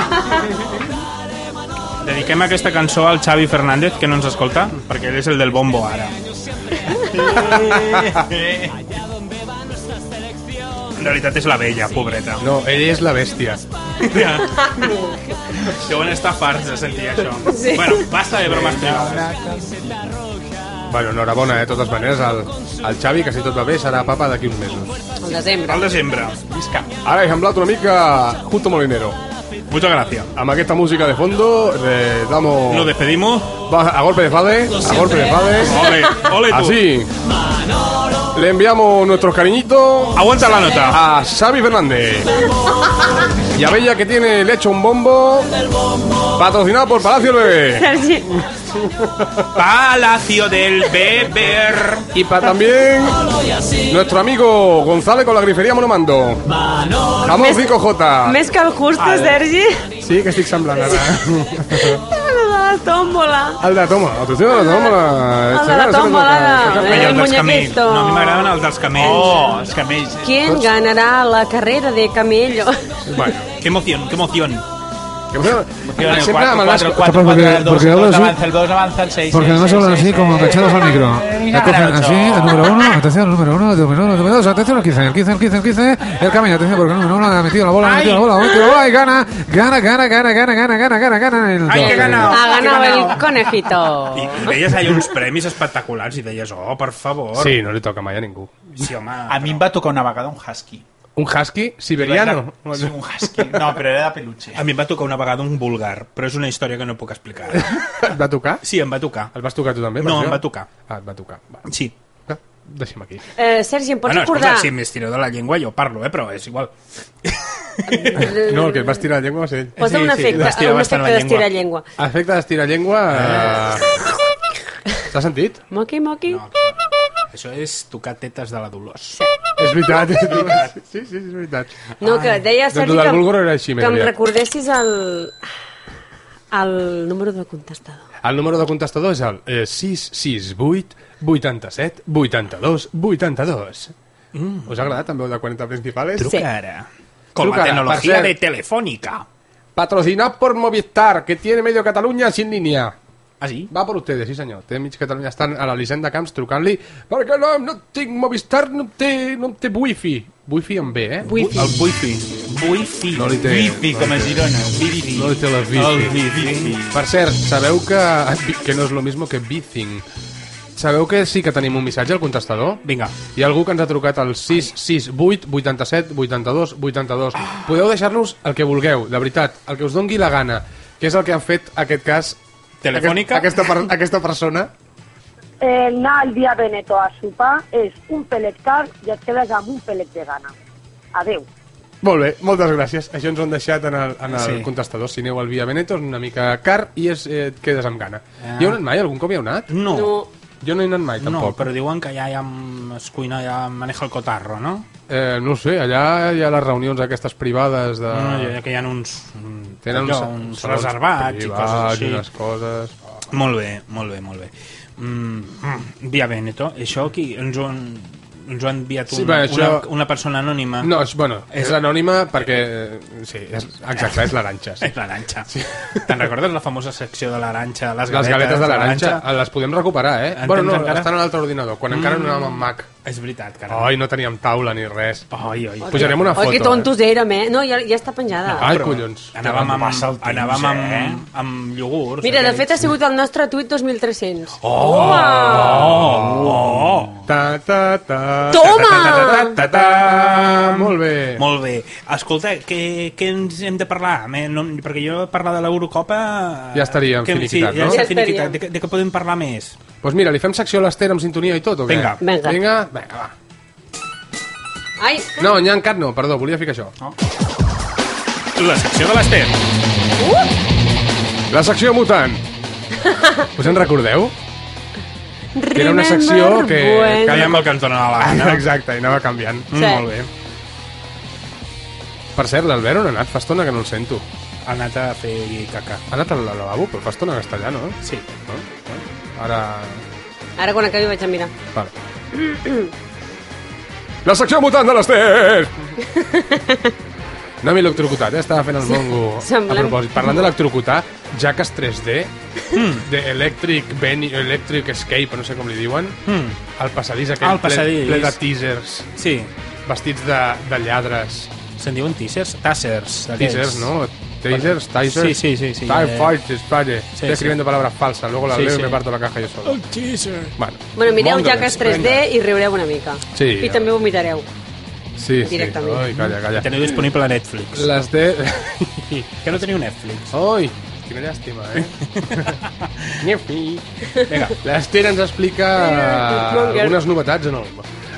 Dediquem aquesta cançó al Xavi Fernández, que no ens escolta, perquè ell és el del bombo ara. En realitat és la vella, pobreta. No, ell és la bèstia. Ja. Deuen estar farts de sentir això. Sí. Bueno, basta de bromes privades. Bueno, enhorabona, eh? De totes maneres, el, el Xavi, que si tot va bé, serà papa d'aquí uns mesos. Al desembre. Al desembre. Visca. Ara he semblat una mica Justo Molinero. Muchas gracias. Amb aquesta música de fondo, eh, damos... Nos despedimos. Va, a golpe de fade, a golpe de fade. Ole, ole tú. Así. Le enviamos nuestros cariñitos Aguanta la nota. a Xavi Fernández. Y a Bella que tiene le hecho un bombo. Patrocinado por Palacio del Bebé. Sergi, Palacio del Beber. Y para también nuestro amigo González con la grifería Monomando. Jamón 5J. més que el justo, Sergi. Sí, que estic semblant ara. El de la tòmbola. El de toma, atenció a la toma. El de la tòmbola de... Ai, El el dels camells. muñequito. No, a mi m'agraden els dels camells. Oh, els camells. ¿Quién ganará la carrera de camello? Bueno, Qué emoción, qué emoción. Que, bueno, Emociones, sempre amb el cuatro, Vasco. cuatro, Capaz, porque- cuatro, el dos, porque el hablo dos así. avanza el 2, avanza el 6. Porque además hablan así como cachados al micro. La cogen así, el número uno, atención, el número uno, el número uno, el número dos, atención, el 15, el 15, el 15, el 15, el camino, atención, porque el número uno ha metido la bola, ha metido la bola, ha metido la bola y gana, gana, gana, gana, gana, gana, gana, gana, gana. el Ay, que dos. gana. Ha ganado el conejito. I, I veies allà uns premis espectaculars i deies, oh, per favor. Sí, no li toca mai a ningú. sí home. A mi em va tocar una vegada un husky. Un husky siberiano. Sí, un husky. No, però era de peluche. A mi em va tocar una vegada un vulgar, però és una història que no puc explicar. Et va tocar? Sí, em va tocar. El vas tocar tu també? per No, em això? va tocar. Ah, et va tocar. Va. Sí. Ah, Deixem aquí. Eh, Sergi, em pots Bueno, recordar... escolta, si m'estireu de la llengua jo parlo, eh, però és igual. No, el que et vas tirar la llengua va ser ell. Posa Sí, un sí, efecte, m'estira un bastant efecte la d'estirar llengua. Efecte d'estirar llengua... Eh... S'ha sentit? Moqui, moqui. No, això és tocar tetes de la Dolors. És veritat. Sí, sí, sí, és veritat. No, que deia Doncs Sergi lo del que, Bulgor era així, més que em aviat. recordessis el, el número del contestador. El número de contestador és el eh, 668 87 82 82. Mm. Us ha agradat també el de 40 principales? Sí. Ara. Com Truca a ara, tecnologia per cert. de telefònica. Patrocinat por Movistar, que tiene medio Cataluña sin línea. Ah, sí? Va per ustedes, sí senyor. Té mig Catalunya. Estan a l'Elisenda Camps trucant-li perquè no, no tinc Movistar, no té, no té wifi. Wifi amb B, eh? Wifi. El wifi. Wifi. No li té- Wifi, no com a li té- Girona. Wifi. No li té la wifi. El wifi. Per cert, sabeu que, que no és lo mismo que Bithing. Sabeu que sí que tenim un missatge al contestador? Vinga. Hi ha algú que ens ha trucat al 668 87 82 82. Podeu deixar-nos el que vulgueu, de veritat, el que us dongui la gana, que és el que han fet aquest cas Telefònica? Aquest, aquesta, per, aquesta persona. Eh, anar al dia Veneto a sopar és un pelet car i et quedes amb un pelet de gana. Adeu. Molt bé, moltes gràcies. Això ens ho han deixat en el, en el sí. Sí. contestador. Si aneu al Via Veneto és una mica car i és, eh, et quedes amb gana. Ah. Hi heu anat mai? Algun cop hi heu anat? No. No. Jo no he anat mai, No, tampoc. però diuen que ja, ja em- es cuina, ja em maneja el cotarro, no? Eh, no ho sé, allà hi ha les reunions aquestes privades de... no ja que hi ha uns, mm, Tenen uns, allò, Ah. uns salons reservats i coses privats així. I les coses... Molt bé, molt bé, molt bé. Mm, mm, via Veneto, això aquí ens ho han, ens ho han enviat Sí, una, bé, això- una, una persona anònima. No, és, bueno, És- és, anònima perquè... eh, Sí, és, exacte, és l'aranxa. Sí. És l'aranxa. Sí. Te'n recordes la famosa secció de l'aranxa? Les, Les galetes de l'aranxa les podem recuperar, eh? En bueno, tens no, encara? estan a l'altre ordinador, quan encara no anàvem Mm. amb Mac. És veritat, caram. Ai, no teníem taula ni res. Ai, ai. Pujarem Pujarem una Oi, foto. que eh? Ah, tontos érem, eh? No, ja, ja està penjada. Ai, collons. Anàvem amb, Passa el temps, temps, anàvem amb, eh? amb, amb iogurts. Mira, de aquells. fet ha sigut el nostre tuit 2300. Oh! Oh, Oh, Ta, ta, ta, Toma! Ta, ta, ta, ta, ta, ta. Molt bé. Molt bé. Escolta, què, què ens hem de parlar? Me- No, perquè jo parlar de l'Eurocopa... Ja estaríem que, sí, finiquitat, ja no? està Ja finiquitat. estaríem. De, què- de què podem parlar més? Doncs pues mira, li fem secció a l'Ester amb sintonia i tot, o què? Vinga. Vinga. Vinga, vinga, va. Ai, No, Nyan Cat no, perdó, volia ficar això. La secció de l'Ester. La secció mutant. Us en recordeu? Que era una secció Remember que... when. que Callem el que ens dona la gana. Exacte, i anava canviant. Sí. Mm, molt bé. Per cert, l'Albert on ha anat? Fa estona que no el sento. Ha anat a fer caca. Ha anat al lavabo, però fa estona que està allà, no? Sí. No? Ara... ara quan acabi vaig a mirar. Vale. La secció mutant de l'Ester! No m'he electrocutat, eh? estava fent el mongo a semblant. propòsit. Parlant d'electrocutar, Jackass 3D, de Electric, ben... Electric Escape, no sé com li diuen, Mm. el passadís aquell Ah, el passadís. Ple, ple de teasers, Sí. vestits de, de lladres. Se'n diuen teasers? Tassers. Teasers, ¿no? Teasers, teasers. Sí, sí, sí, sí. Time Eh, fighters, vale. Estoy sí. escribiendo palabras falsas, luego las Sí, leo sí. y me parto la caja yo solo. teaser. Bueno, Bueno, mireu Mongols, Jackass 3D i riureu una mica. Sí. I també vomitareu. Sí, sí. directament. Ai, calla, La calla. teniu disponible a Netflix. La... Las de... Que no teniu Netflix. Ai, quina llàstima, eh? Nyefi. Vinga, l'Ester ens explica Cliffhanger. algunes novetats en el...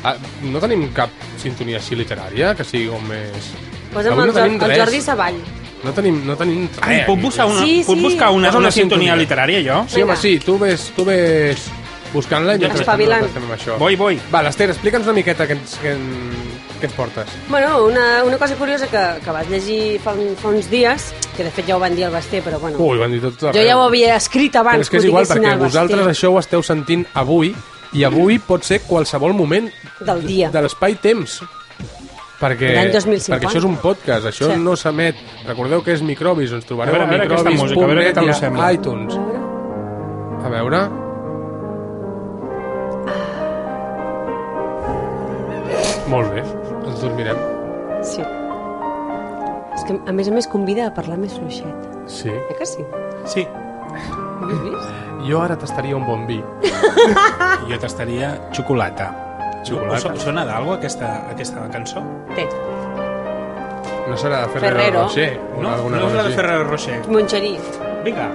Ah, no tenim cap sintonia així literària que sigui com més... Posa'm Avui el, no tenim Jor- el res. Jordi Savall. No tenim, no tenim res. Ai, puc buscar una, Sí, puc sí. buscar una, Posa una, una sintonia sintonia. literària, jo? Sí, home, Vinga. sí, tu ves, tu ves buscant-la i Jo nosaltres espavilant. estem amb això. Voy, voy. Va, l'Ester, explica'ns una miqueta què ens, què, en, què ens portes. Bueno, una, una cosa curiosa que, que vas llegir fa, un- fa uns dies, que de fet ja ho van dir al Basté, però bueno... Ui, van dir tot Jo ja ho havia escrit eh. Però abans és que és igual, diguessin perquè al Basté. vosaltres això ho esteu sentint avui, i avui pot ser qualsevol moment Del dia. de l'espai-temps. Perquè, L'any 2050. perquè això és un podcast, això Sí. no s'emet. Recordeu que és Microbis, ens trobareu A veure, a veure aquesta música, a veure què tal microbis.net i us sembla. a iTunes. A veure... Molt bé, ens dormirem. Sí. És que, a més a més, convida a parlar més fluixet. Sí. Eh que sí? Sí. Ho has vist? Jo ara tastaria un bon vi. Jo tastaria xocolata. Xocolata. Us- us Sona d'algo aquesta, aquesta cançó? Té. No serà de Ferrero, Ferrero. Rocher. o No, alguna no és cosa la de així. Ferrero Rocher. Monxerí. Vinga.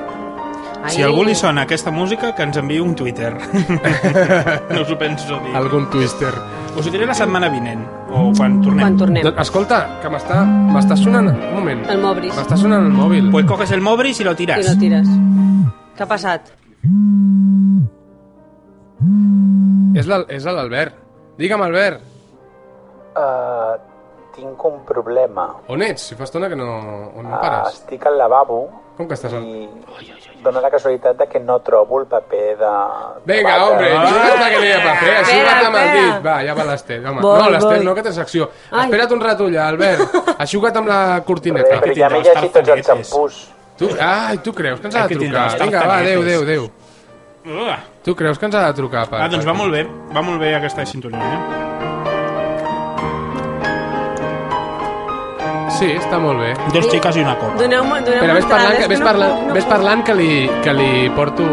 Si algú li sona aquesta música, que ens enviï un Twitter. no us ho penso dir. Algun twister. Us ho diré la setmana vinent, o quan tornem. Quan tornem. Doncs, escolta, que m'està m'està sonant... Un moment. El Mobris. M'està sonant el mòbil. Pues coges el Mobris i lo tiras. I no tires. Què ha passat? És l'Al- és l'Albert. Digue'm, Albert, Uh, tinc un problema. on ets? Si fa estona que no... On no Uh, pares? Ah, estic al lavabo Com que estàs... Al... i dona la casualitat de que no trobo el paper de... Vinga, de hombre, Ah. vàter. juga't a que no hi ha paper, Espera, juga't amb el espera. dit. Va, ja va l'Estel, home. Voy, no, l'Estel voy. no, que té secció. Ai. Espera't un rato allà, Albert. Aixuga't amb la cortineta. Res, però ja m'he llegit tots els xampús. Tu, ai, tu creus que ens ha Ai, de que tindrà trucar? els Vinga, va, adéu, tartanetes. adéu, adéu. Uah. Tu creus que ens ha de trucar? Per, Ah, doncs per- va molt bé. Va molt bé aquesta sintonia, eh? Sí, està molt bé. eh? Dos xiques i una copa. Doneu-me doneu Espera, ves parlant, que, ves, parlant, no, ves parlant que li, que li porto...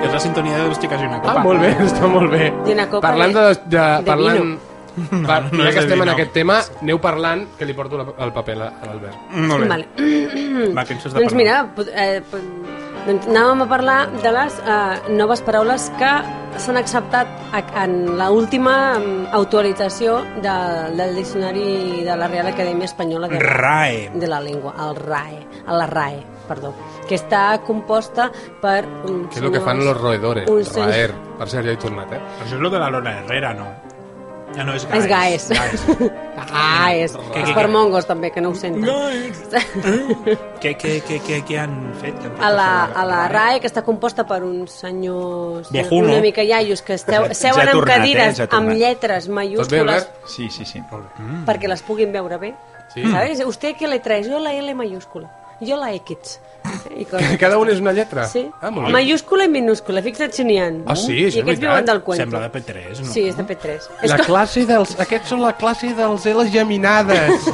És la sintonia de dos xiques i una copa. Ah, molt bé, està molt bé. I una copa Parlant de... de- de, de parlant, vino. no, per, no ja que és de estem en vino. aquest tema, aneu parlant que li porto la, el paper a l'Albert. Molt Vale. Va, que ens has de doncs parlar. mira, pot- eh, pot- doncs anàvem a parlar de les eh, noves paraules que s'han acceptat a, en l'última em, actualització de, del diccionari de la Real Acadèmia Espanyola de, RAE. de la Lengua, el RAE, a la RAE, perdó, que està composta per... un Que és el que fan los roedores, Un senyor- raer. Per cert, ja he tornat, eh? Això és lo de la Lona Herrera, no? Ja no és És gaes. gaes. Ah, és, que- és per mongos també, que no ho senten. Què, què, què, què, què han fet? a la, a la RAE, que està composta per uns senyors Viejuno. una mica iaios que esteu, Ja- seuen ja ha amb tornat, eh? cadires Ja ha tornat. amb lletres mayúscules Sí, sí, sí. Mm. perquè les puguin veure bé. Sí. ¿Sabes? Usted qué letra es? Yo la L mayúscula. Yo la X. I coses. Cada un és una lletra? Sí. Ah, molt bé. mayúscula i minúscula. Fixa't si n'hi ha. Ah, sí, això és I aquests veritat. viuen del cuento. Sembla de P3, Sí, és de P3. La classe dels... Aquests són la classe dels L's geminades.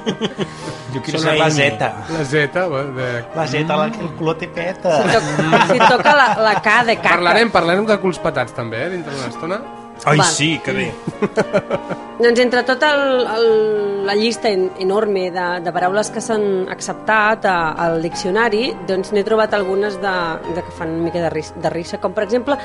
Jo quiero ser la Z. La Z, va, de... La Z, la, el color té peta. Si toca, si toca la, la K de caca. Parlarem, parlarem de culs petats, també, eh, dintre d'una estona. Ai, Val. sí, que bé. Doncs entre tota el, el, la llista en, enorme de, de paraules que s'han acceptat a, al diccionari, doncs n'he trobat algunes de, de que fan una mica de, ris, de risa, com per exemple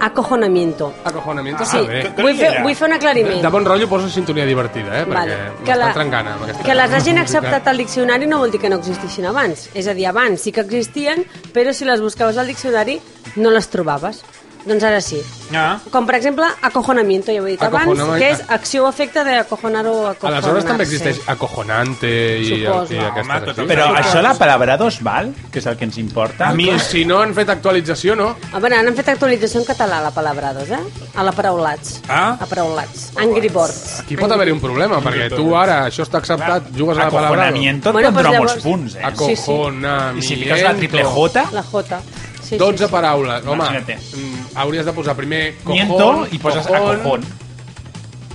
acojonamiento. Acojonamiento, Sí, ah, bé. vull fer, vull fer un De, aclariment. de bon rotllo posa sintonia divertida, eh? Perquè Vale. Que m'estan la- trencant amb aquesta... Que les hagin acceptat al diccionari no vol dir que no existeixin abans. És a dir, abans sí que existien, però si les buscaves al diccionari no les trobaves. Doncs ara sí. Ah. Com, per exemple, acojonamiento, ja ho he dit abans, Acojonamiento. que és acció o efecte d'acojonar o acojonar. Aleshores també existeix acojonante i, i, Suposo. i aquestes... Però, però això la palabra dos val, que és el que ens importa. A mi, si no han fet actualització, no? A veure, han fet actualització en català, a la palabra dos, eh? A la paraulats. Ah? A paraulats. Angry Birds. Aquí pot haver-hi un problema, perquè tu ara, això està acceptat, Ah, jugues a la palabra... Acojonamiento et Bueno, pot doncs donar llavors- molts punts, eh? Sí, sí. Acojonamiento. I si fiques la triple J? La J. Sí, 12 sí, sí. paraules. Home, Imagina't. mm, hauries de posar primer cojón... Miento i poses acojón.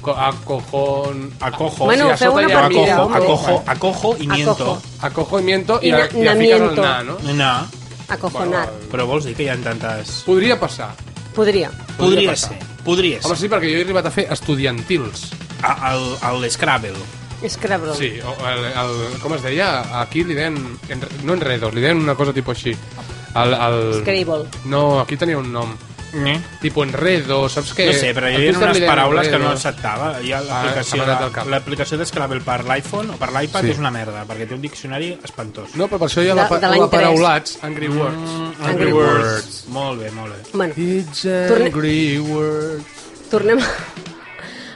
Co acojón... Acojo. Bueno, a sota feu una hi ha partida, acojo, home. acojo, acojo i miento. Acojo i miento i, I i, na- i ja fiques el namiento. na, no? No. Acojonar. Però vols dir que hi ha tantes... Podria passar. Podria. Podria passar. ser. Podria ser. Home, sí, perquè jo he arribat a fer estudiantils. A, el, el Scrabble. Scrabble. Sí, o el, el, com es deia? Aquí li deien... En, no enredos, li deien una cosa tipus així. El, el... Scrabble. No, aquí tenia un nom. Mm. Tipo enredo, saps què? No sé, però hi Al havia Twitter unes li deien paraules que no enredo. acceptava. Hi ha Ah, l'aplicació s'ha m'ha anat al de- l'aplicació de Scrabble per l'iPhone o per l'iPad Sí. és una merda, perquè té un diccionari espantós. No, però per això hi ha la, De- pa- de l'any la tres. paraulats, Angry Words. Mm, Angry, Angry Words. Molt bé, molt bé. Bueno, It's torne- Angry Words. Tornem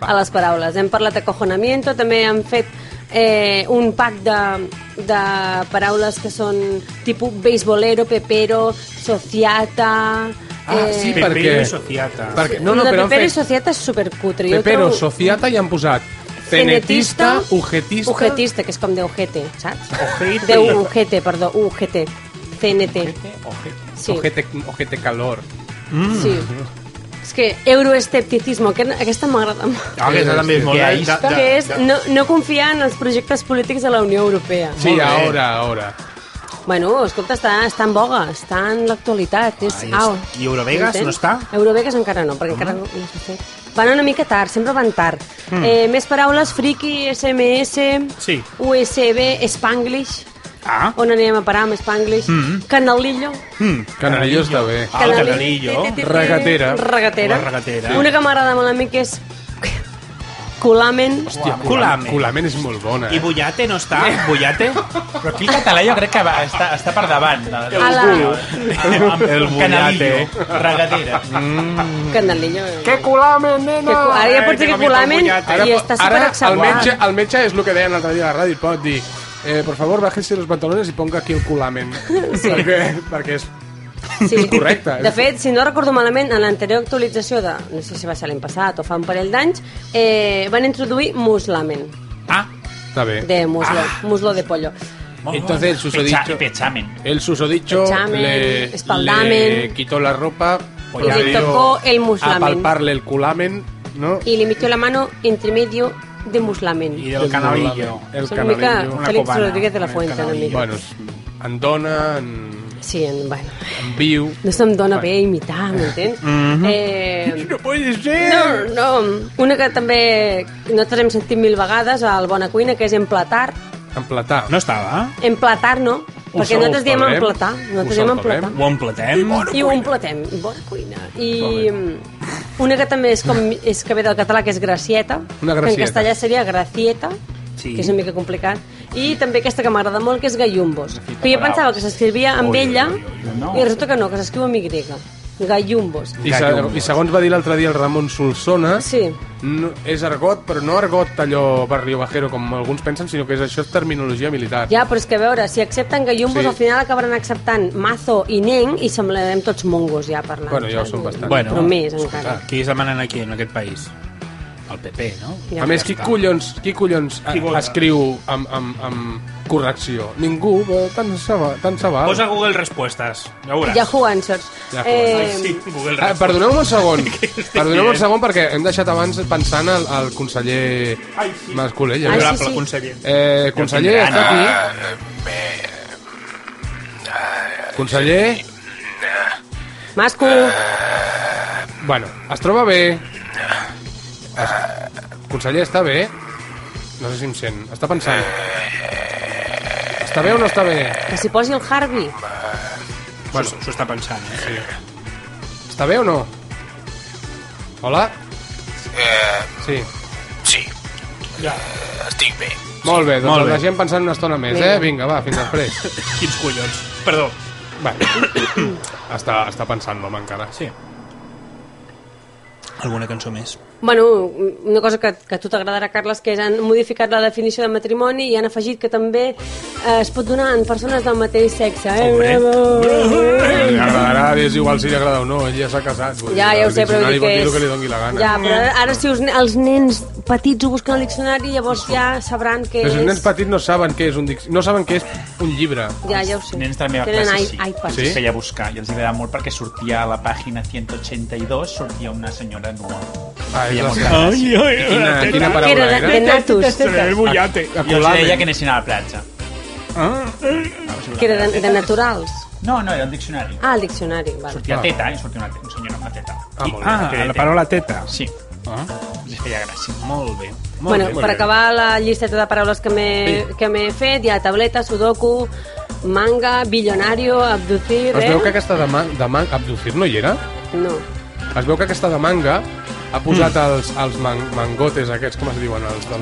a les paraules. Hem parlat d'acojonamiento, també hem fet eh, un pack de, de paraules que són tipus beisbolero, pepero, sociata... eh, Ah, sí, Pepero perquè... i Sociata. perquè... No, no, la però han Pepero i fet Sociata és supercutre. jo Pepero, trobo- Sociata i han posat Cenetista, Cenetista, Ugetista... Ugetista, que és com de ojete, saps? Ojete. De ujete, perdó, ujete. CNT. Sí. Ojete, Mm. ojete calor. Sí. És que euroescepticisme, que, aquesta m'agrada molt. Ah, aquesta també és molt de- de- de- Que és no, no confiar en els projectes polítics de la Unió Europea. Sí, eh. ahora, ahora. Bueno, escolta, està, està en boga, està en l'actualitat. És... Ai, Au. i Eurovegas no Entens? està? Eurovegas encara no, perquè encara no s'ha fet. Van una mica tard, sempre van tard. Mm. Eh, més paraules, friki, SMS, Sí. USB, Spanglish. Ah. On anirem a parar amb Spanglish? Mm. Canalillo. Mm, Canarillo està bé. Ah, el Canalillo. Regatera. Regatera. La regatera. Una que m'agrada molt a mi que és... Colamen. Hòstia, Uau, Culamen. Culamen. Ah, Culamen és molt bona, I eh? Bullate no està? Bullate? Però aquí el català jo crec que va, està, està per davant. El, A la- El Bullate. Regadera. Mm. Canalillo. Que culamen, nena! Que cu- ara ja pots dir que culamen eh? i està el superaccentuat. metge, el metge és el que deien l'altre dia a la ràdio, pot dir eh, por favor, bájese los pantalones i ponga aquí el culamen. Sí. Perquè, perquè és, Sí. és correcte. De fet, si no recordo malament, en l'anterior actualització de, no sé si va ser l'any passat o fa un parell d'anys, eh, van introduir muslamen, Està bé. de muslo, Ah. muslo de pollo. Entonces el susodicho... Pechamen. El susodicho Pechamen, le, espaldamen. le quitó la ropa Y le procedió tocó el a muslamen. palparle el culamen, ¿no? Y le metió la mano entre medio de muslamen. Y del canalillo. El Una mica canalillo. Una Félix cubana, Rodríguez de la el Fuente, una mica. Bueno, és- en dona, en, Sí, en, bueno, en viu... no se'm dona bé imitar, m'entens? Mhm. eh, No puede No, no. Una que també nosaltres hem sentit mil vegades al Bona Cuina, que és emplatar. Emplatar. No estava? Emplatar, no? Perquè nosaltres diem emplatar. Nosaltres diem emplatar. Ho emplatem? I ho emplatem. Bona cuina. I mm, una que també és, com, és que ve del català, que és gracieta. Una que gracieta. En castellà seria gracieta, Sí. que és una mica complicat. I també aquesta que m'agrada molt, que és gallumbos. Que jo pensava que s'escrivia amb ella, i resulta que no, que s'escriu amb Y. Gallumbos. I, se, I segons va dir l'altre dia el Ramon Solsona, sí. no, és argot, però no argot allò barrio bajero, com alguns pensen, sinó que és això és terminologia militar. Ja, però és que a veure, si accepten gallumbos, Sí. sí. al final acabaran acceptant mazo i nen i semblarem tots mongos ja parlant. Bueno, ja ho saps? som bastant. Bueno, però Bueno, més encara. Ah, Qui es demanen aquí, en aquest país? El PP, no? A més, qui collons, qui collons Qui eh, vota? escriu amb, amb, amb correcció? Ningú, però tant se va. Tant se va. Posa Google Respuestes. Ja ho veuràs. Yahoo Answers. Yahoo Eh, Answers. Sí, Google Ah, Respuestes. perdoneu-me un segon. Perdoneu-me un dient? segon perquè hem deixat abans pensant al, al conseller Ai, sí. Mas Colell. Ai, sí, Honorable sí. conseller. Eh, conseller, Ja ho està tindran. aquí. eh, Conseller, Masco, bueno, es troba bé. Es... Conseller, està bé? No sé si em sent. Està pensant. Està bé o no està bé? que s'hi posi el Harvey. Bueno, s'ho està pensant, eh? Sí. Està bé o no? Hola? Sí. Sí. Ja. Estic bé. Molt bé, doncs Molt Molt bé. bé. el deixem pensant una estona més, Vinga. eh? Vinga, va, fins després. Quins collons. Perdó. Bueno, està, està pensant l'home encara. Sí. Alguna cançó més? Bueno, una cosa que, que a tu t'agradarà, Carles, que és han modificat la definició de matrimoni i han afegit que també eh, es pot donar en persones del mateix sexe. Eh? Li agradarà, és igual si li agrada o no, ell ja s'ha casat. vull Ja, dir, ja ho el sé, però vull diccionari dir pot que dir és... el que li doni la gana. Ja, però ara, ara si us, els nens petits ho busquen al diccionari, llavors ja sabran què Els és... nens petits no saben què és un dic... no saben què és un llibre. Ja, ja ho sé. Nens de la meva Tenen i- classe sí. iPads. Sí? Feia buscar i els hi agradava molt perquè sortia a la pàgina 182 sortia una senyora nua. Ai, Feia Ah, la molta teta. Ai, gràcia. ai, quina- teta. quina paraula Era de- era? de natos. El bullate. I els hi deia que anessin a la platja. Ah. Que era de, de naturals. No, no, era un diccionari. Ah, el diccionari, val. Sortia teta i sortia una, te- una senyora amb una teta. Ah, molt bé. Ah, la paraula teta. Sí. Ah. Els hi feia gràcia. Molt bé. bueno, per acabar la llisteta de paraules que m'he que m'he fet, hi ha tauleta, sudoku, manga, billonario, abducir... Es eh? veu que aquesta de, man... de man... Abducir no hi era? No. Hmm. Es veu que aquesta de manga ha posat els, els man, mangotes aquests, com es diuen? Els, dels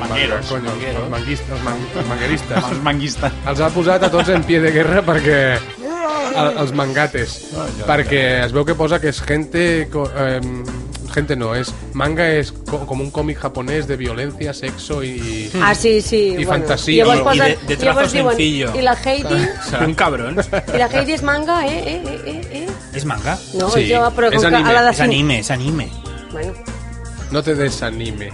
manga- mangueros, Conyo, mangueros. els, manguistes, els, man, els mangueristes. Els manguistes. Els ha posat a tots en pie de guerra perquè... El, els mangates. ja, ja. perquè es veu que posa que és gente... co- Eh, gente no, es manga es co- como un cómic japonés de violencia, sexo y Ah, sí, sí. y bueno. fantasía Llavors I posen- llavors diuen, I la Heidi, Un cabrón. i la Heidi és manga, eh, eh, eh, eh, eh. És manga? No, Sí, jo, però com és que anime. a la de És cinc- anime, és anime. Bueno. No te desanime.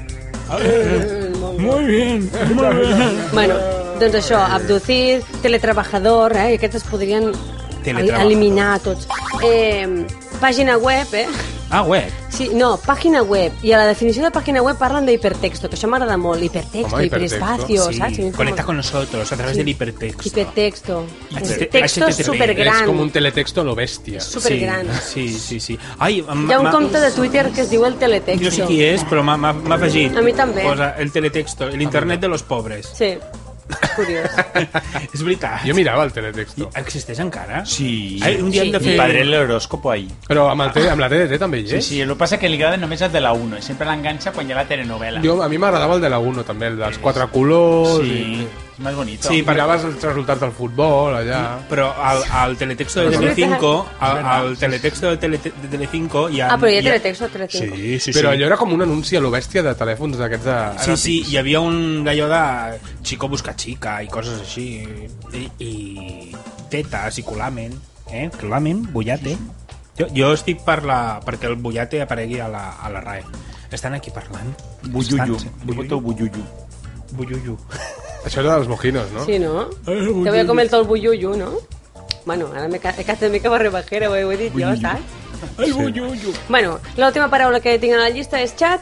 Muy bien, muy bien. Bueno, doncs això, abducir, teletrabajador, eh, aquests es podrien Teletrabajador. el- eliminar tots. Eh, pàgina web, eh? Ah, web. Sí, no, pàgina web. I a la definició de pàgina web parlen d'hipertexto, que això m'agrada molt. Hipertexto, Home, hiperespacio, sí. saps? Conecta con nosotros a través Sí. del hipertexto. Hipertexto. Hiper- Texto HTTP. supergran. Es como un teletexto a lo bestia. Supergran. Sí, sí, sí. Ai, Hi ha un compte de Twitter que es diu el Jo no sé teletexto. qui és, però m'ha- m'ha m'ha afegit. A mi també. Posa el teletexto, l'internet de los pobres. Sí, curiós. És veritat. Jo mirava el teletexto. Existeix encara? Sí. Ai, un dia hem de fer... Mi padre el horóscopo ahí. Però amb, el te amb la TDT també hi Sí, és. sí, el que passa que li agrada només el de la 1 i sempre l'enganxa quan hi ha la telenovela. Jo, a mi m'agradava el de la 1 també, el dels quatre colors. Sí, i- és més bonito. Sí, miraves els resultats del futbol allà. Però al, al teletexto de És veritat. Telecinco, És al, veritat. al teletexto de, tele, de Telecinco hi ha... Ah, però hi ha hi ha- teletexto, teletexto. Sí, sí, Però sí. allò era com un anunci a lo bèstia de telèfons d'aquests de... Sí, sí, hi havia un d'allò de Chico busca chica i coses així. I, i tetes i colamen. Eh? Colamen, bullate. Jo, jo estic per la, perquè el bullate aparegui a la, a la RAE. Estan aquí parlant. Bullullu. Estan- Jo voto bullullu. Bullullu. Això era dels mojinos, no? Sí, ¿no? Te voy a comer todo el bullullo, ¿no? Bueno, ahora me cae que me cago rebajera, güey, güey, yo, ¿sabes? El bullullo. Bueno, la última paraula que tinc a la llista és xat,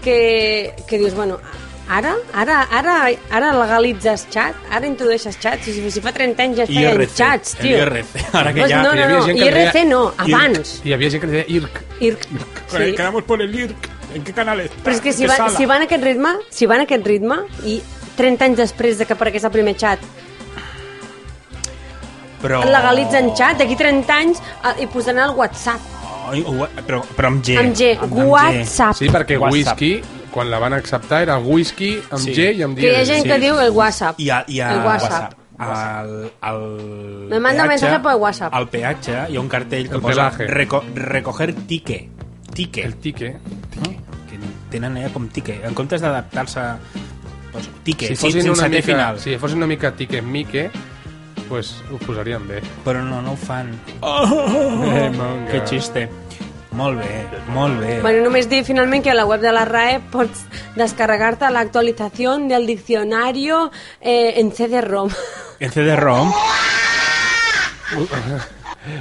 que, que dius, bueno, ara, ara, ara, ara legalitzes xat, ara introdueixes xat, si, si fa 30 anys ja es feien IRC, xats, tio. el IRC. Ara que Pues ja- no, hi no, havia no, gent que IRC deia- no, IRC. abans. Hi havia gent que deia IRC. IRC. Sí. Quedamos por el IRC. ¿En qué canal está? Però és que si, va, si van a aquest ritme, si van a aquest ritme, i 30 anys després de que aparegués el primer xat, Però... legalitzen xat, d'aquí 30 anys eh, hi posaran el WhatsApp. Ai, ua- Però, però amb G. Amb G. WhatsApp. Sí, perquè whisky, quan la van acceptar, era whisky amb Sí. G i amb Que hi ha gent que diu el WhatsApp. I a, i a El WhatsApp. Al, al Me manda mensaje por WhatsApp. Al peatge hi ha un cartell que El posa pelaje. reco recoger tique. Tique. El tique. Que tenen allà com tique. En comptes d'adaptar-se... Pues, tique, si sí, fossin sense una té mica, final. Si fossin una mica tiquemique, pues ho posarien bé. Però no, no ho fan. Eh, manga. que xiste. Molt bé, molt bé. Bueno, només dir finalment que a la web de la RAE pots descarregar-te l'actualització del diccionario eh, en CD-ROM. En CD-ROM.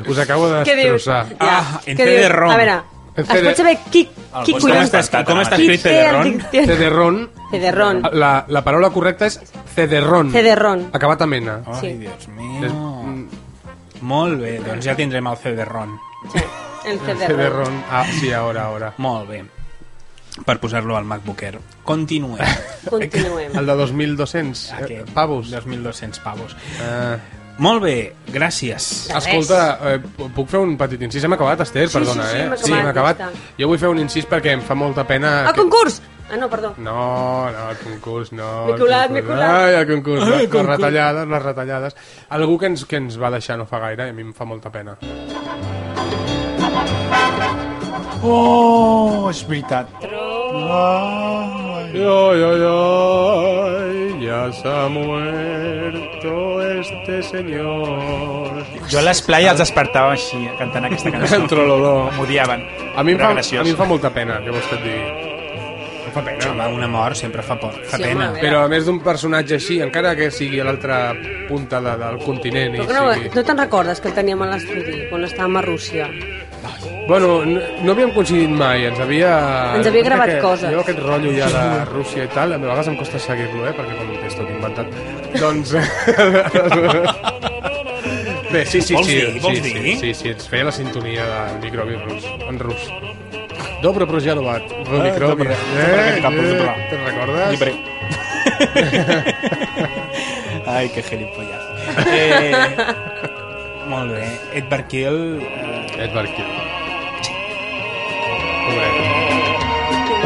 Us acabo de Què dius? destrossar. Ah, en Que diu- CD-ROM. A veure, En Ah, es pot saber qui, qui pues com collons... està escrit, com està Qui escrit té el CD-ROM? dicti- Cederrón. CD-ROM. La, la paraula correcta és cederrón. Cederrón. Acabat amb N. Sí. Ai, Dios mío. Molt bé, doncs ja tindrem el CD-ROM. El CD-ROM. Cederrón. Ah, sí, ara, ara. Molt bé. Per posar-lo al MacBook Air. Continuem. Continuem. El de 2.200 eh, Aquest. pavos. 2.200 pavos. Eh, Molt bé, gràcies. De res. escolta, eh, pu- puc fer un petit incís? Hem acabat, Esther, Sí, perdona, sí, sí, eh? hem acabat, hem acabat. ja està. Jo vull fer un incís perquè em fa molta pena... El que- concurs! Ah, no, perdó. No, no, el concurs no. M'he colat, el concurs- m'he colat. Ai, el concurs, Ai, el les, les concurs. retallades, les retallades. Algú que ens, que ens va deixar no fa gaire, i a mi em fa molta pena. Oh, és veritat. Ay, ay, ay, ya se ha muerto este señor. Jo a les playas els despertava així, cantant aquesta cançó. El trololó. M'odiaven. A mi, em Era fa, graciós. a mi em fa molta pena, que vols que et digui. Em fa pena. Home, una mort sempre fa, por, fa Sí, pena. home, Però a més d'un personatge així, encara que sigui a l'altra punta de, del continent i Però no, sigui... no te'n recordes que el teníem a l'estudi quan estàvem a Rússia? Bueno, no, no havíem coincidit mai, ens havia... Ens havia gravat que, coses. Jo aquest rotllo ja de Rússia i tal, a vegades em costa seguir-lo, eh, perquè com és tot inventat. doncs... Bé, sí, sí, Vols sí, dir? Vols sí, sí, dir? sí, sí, ens feia la sintonia del microbi rus, en rus. Dobro projelovat, el Eh, Ah, microbi. Eh, dobre, dobre, capos, dobre. Te'n recordes? Llibre. Ai, que gilipollas. Eh, Molt bé. Edward Kiel... Eh, Edward Kill. Pobre.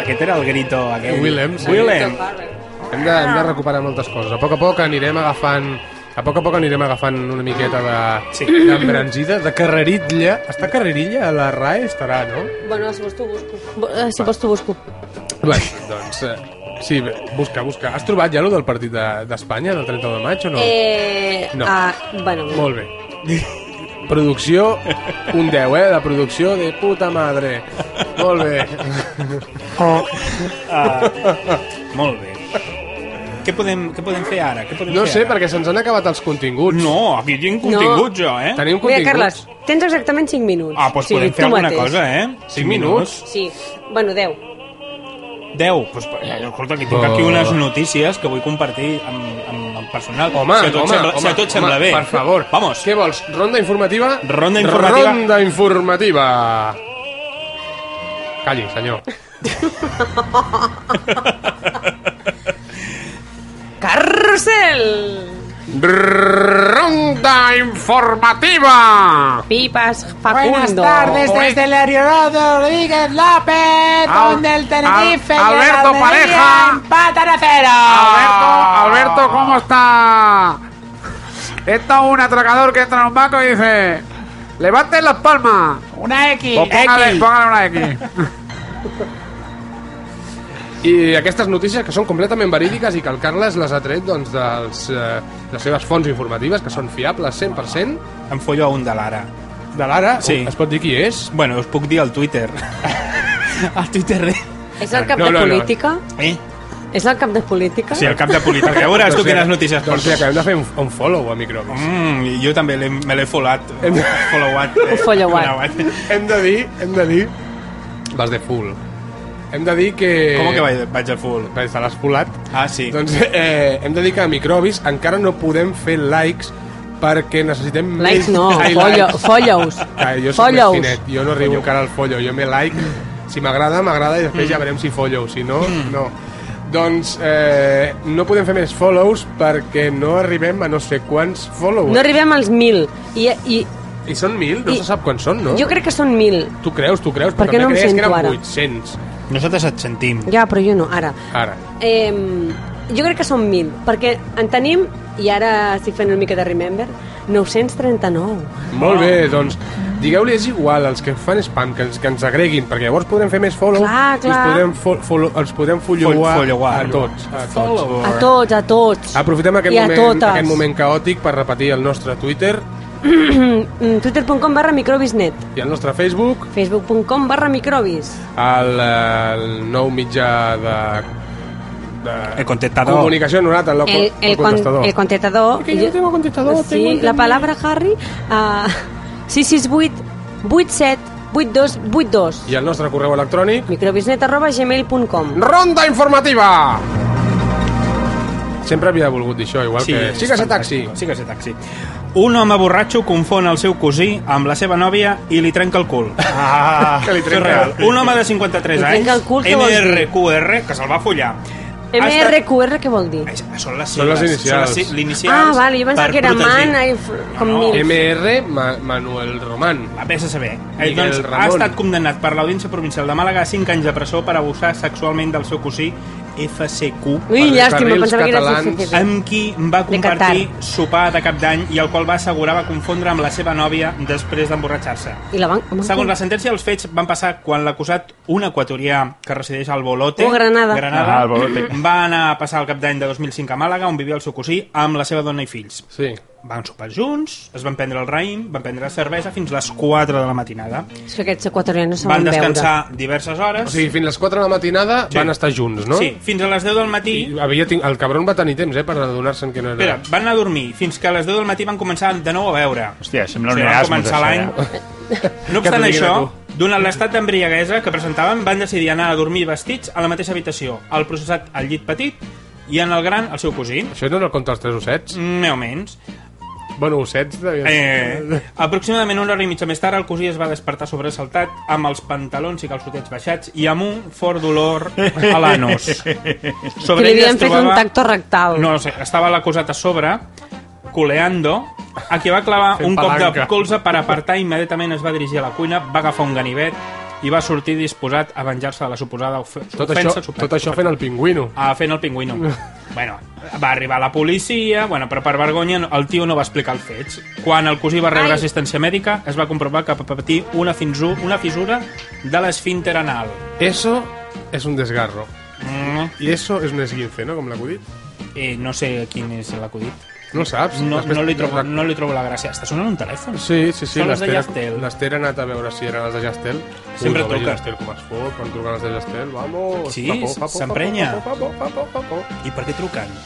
aquest era el grito. Aquest. Willems. Willem. Carver. Hem de, hem de recuperar moltes coses. A poc a poc anirem agafant... A poc a poc anirem agafant una miqueta de... Sí. D'embranzida, de carrerilla. Està carrerilla? A la RAE estarà, no? Bueno, si vols t'ho busco. Bo- eh, Si vols t'ho busco. Bé, doncs... Eh, sí, bé, busca, busca. Has trobat ja lo del partit de- d'Espanya, del 30 de maig, o no? Eh, No. ah, bueno, Molt bé. producció, un 10, eh? La producció de puta madre. Molt bé. Oh. Ah, molt bé. Què podem, què podem fer ara? Què podem No fer sé, ara? perquè se'ns han acabat els continguts. No, aquí tinc continguts, jo, eh? Tenim Mira, continguts. Carles, tens exactament 5 minuts. Ah, doncs podem tu fer alguna mateix. cosa, eh? 5 minuts. Sí, bueno, 10. 10. Pues, eh, escolta, aquí tinc aquí Oh. unes notícies que vull compartir amb, amb el personal. Home, si a tu et home, sembla, home, si a tu et sembla home, bé. per favor. Vamos. Què vols? Ronda informativa? Ronda informativa. Ronda informativa. Calli, senyor. Carrusel! Ronda informativa. Pipas Facundo. Buenas tardes desde el Aeropuerto Rodríguez López, Al- donde el Tenerife Al- y el Alberto Almería Pareja. empatan a cero. Ah. Alberto, Alberto, ¿cómo está? Esto es un atracador que entra en un banco y dice: Levanten las palmas. Una X. Pues póngale- X. póngale una X. I aquestes notícies que són completament verídiques i que el Carles les ha tret doncs, dels, eh, les seves fonts informatives, que són fiables 100%. Em follo a un de l'ara. De l'ara? Sí. Es pot dir qui és? Bueno, us puc dir al Twitter. al Twitter de... És el cap No, de no, no. política? Eh? És el cap de política? Sí, el cap de política. Ja veuràs tu Doncs ja- quines notícies doncs porto. ja acabem de fer un, un follow a Microbis. Mm, i jo també l'he- me l'he folat. Followat. eh. Un followat. followat. Mm, Hem de dir, hem de dir... Vas de full. Hem de dir que... Com Eh. que vaig, vaig a full? Perquè se l'has folat. Ah, sí. Doncs eh, hem de dir que a Microbis encara no podem fer likes perquè necessitem Likes més... no, Ai, follo, likes. follows. Ah, jo soc follows. més finet, jo no arribo encara al follo, jo me like, si m'agrada, m'agrada i després ja veurem si follow, si no, no. Doncs eh, no podem fer més follows perquè no arribem a no sé quants follows. No arribem als 1.000. I, i I són mil? No I- se sap quants són, no? jo crec que són 1.000. Tu creus, tu creus, Per però què no em també creies que sento eren ara? 800. Nosaltres et sentim. Ja, però jo no, ara. Ara. Eh, jo crec que són 1.000, perquè en tenim, i ara estic fent una mica de remember, 939. Molt bé, doncs digueu-li és igual, els que fan spam, que ens, que ens agreguin, perquè llavors podrem fer més follow Clar, i clar. els podem, fo follow, els podem followar, a tots. A tots. A tots, a tots. Aprofitem aquest I a moment, totes. aquest moment caòtic per repetir el nostre Twitter Mm, Twitter.com barra microbisnet. i el nostre Facebook, Facebook.com barra microbis. el, eh, el nou mitjà de, de el contestador. comunicació anonat, el, el, el, con- contestador. el contestador. Que yo no tengo contestador, Sí, tengo la internet. palabra Harry, uh, 668 87 82 82. I el nostre correu electrònic, microbisnet arroba gmail.com Ronda informativa! Sempre havia volgut dir això, igual que... Sí que és ser taxi! fantàstic. Sí que ser taxi. Un home borratxo confon el seu cosí amb la seva nòvia i li trenca el cul. Ah, Que li trenca. Un home de 53 Li anys, trenca el cul, què vol dir? MRQR, que se'l va follar. Ha estat- MRQR, què vol dir? Són les, Són les sigles, inicials. Són les si- inicials Ah, vale, jo pensava per que era protegir. man, ai, f- com mil. MR Ma Manuel Román. La PSCB. Eh, Miguel doncs, ha Ramon. estat condemnat per l'Audiència Provincial de Màlaga a 5 anys de presó per abusar sexualment del seu cosí FCQ. Ui, per- llàstima, carrils pensava que era catalans, FCB. Amb qui va compartir sopar de cap d'any i el qual va assegurar va confondre amb la seva nòvia després d'emborratxar-se. I la van... Segons la sentència, els fets van passar quan l'acusat, un equatorià que resideix al Bolote, Oh, Granada. Granada Ah, al Bolote. va anar a passar el cap d'any de 2005 a Màlaga, on vivia el seu cosí, amb la seva dona i fills. Sí. Van sopar junts, es van prendre el raïm, van prendre cervesa fins les 4 de la matinada. És que aquests equatorianos van saben veure. descansar diverses O hores. sigui, fins les 4 de la matinada Sí. van estar junts, no? Sí, fins a les 10 del matí... I Havia ting... El cabron va tenir temps, eh, per adonar-se'n que no era... Espera, van anar a dormir fins que a les 10 del matí van començar de nou a veure. Hòstia, sembla un Sí, van Erasmus, començar això, eh? l'any. ja. No Que t'ho obstant diguin això, a tu. donat l'estat d'embriaguesa que presentaven, van decidir anar a dormir vestits a la mateixa habitació, el processat al llit petit i en el gran el seu cosí. Això no era el contra els tres ossets? Més o menys. Bueno, ossets... Devia... Mm. Eh, aproximadament una hora i mitja més tard, el cosí es va despertar sobresaltat amb els pantalons i calçotets baixats i amb un fort dolor a l'anus. Que li havien fet un tacto rectal. No, no sé, estava l'acusat a sobre, coleando, a qui va clavar Fent un cop palanca. de colze per apartar immediatament es va dirigir a la cuina, va agafar un ganivet, i va sortir disposat a venjar-se de la suposada ofe Tot ofensa. això, suposada tot això fent el pingüino. a fent el pingüino. bueno, va arribar la policia, bueno, però per vergonya no- el tio no va explicar els fets. Quan el cosí va rebre Ai. assistència mèdica, es va comprovar que va patir una, finzu, una fissura de l'esfínter anal. Eso es un desgarro. Mm. I eso és un esguince, no? Com l'acudit. Eh, no sé quin és l'acudit. No ho saps? No, Després- no, li trobo, no li trobo la gràcia. Està sonant un telèfon. Sí, sí, sí. Són els de l'Ester- Yastel. L'Ester ha anat a veure si eren els de Jastel. Sempre Ui, no vegi truca. Yastel com es fot, quan truquen els de Jastel. Vamos, Sí, papo, papo, papo, s'emprenya. papo, papo, papo, papo. I per què truquen?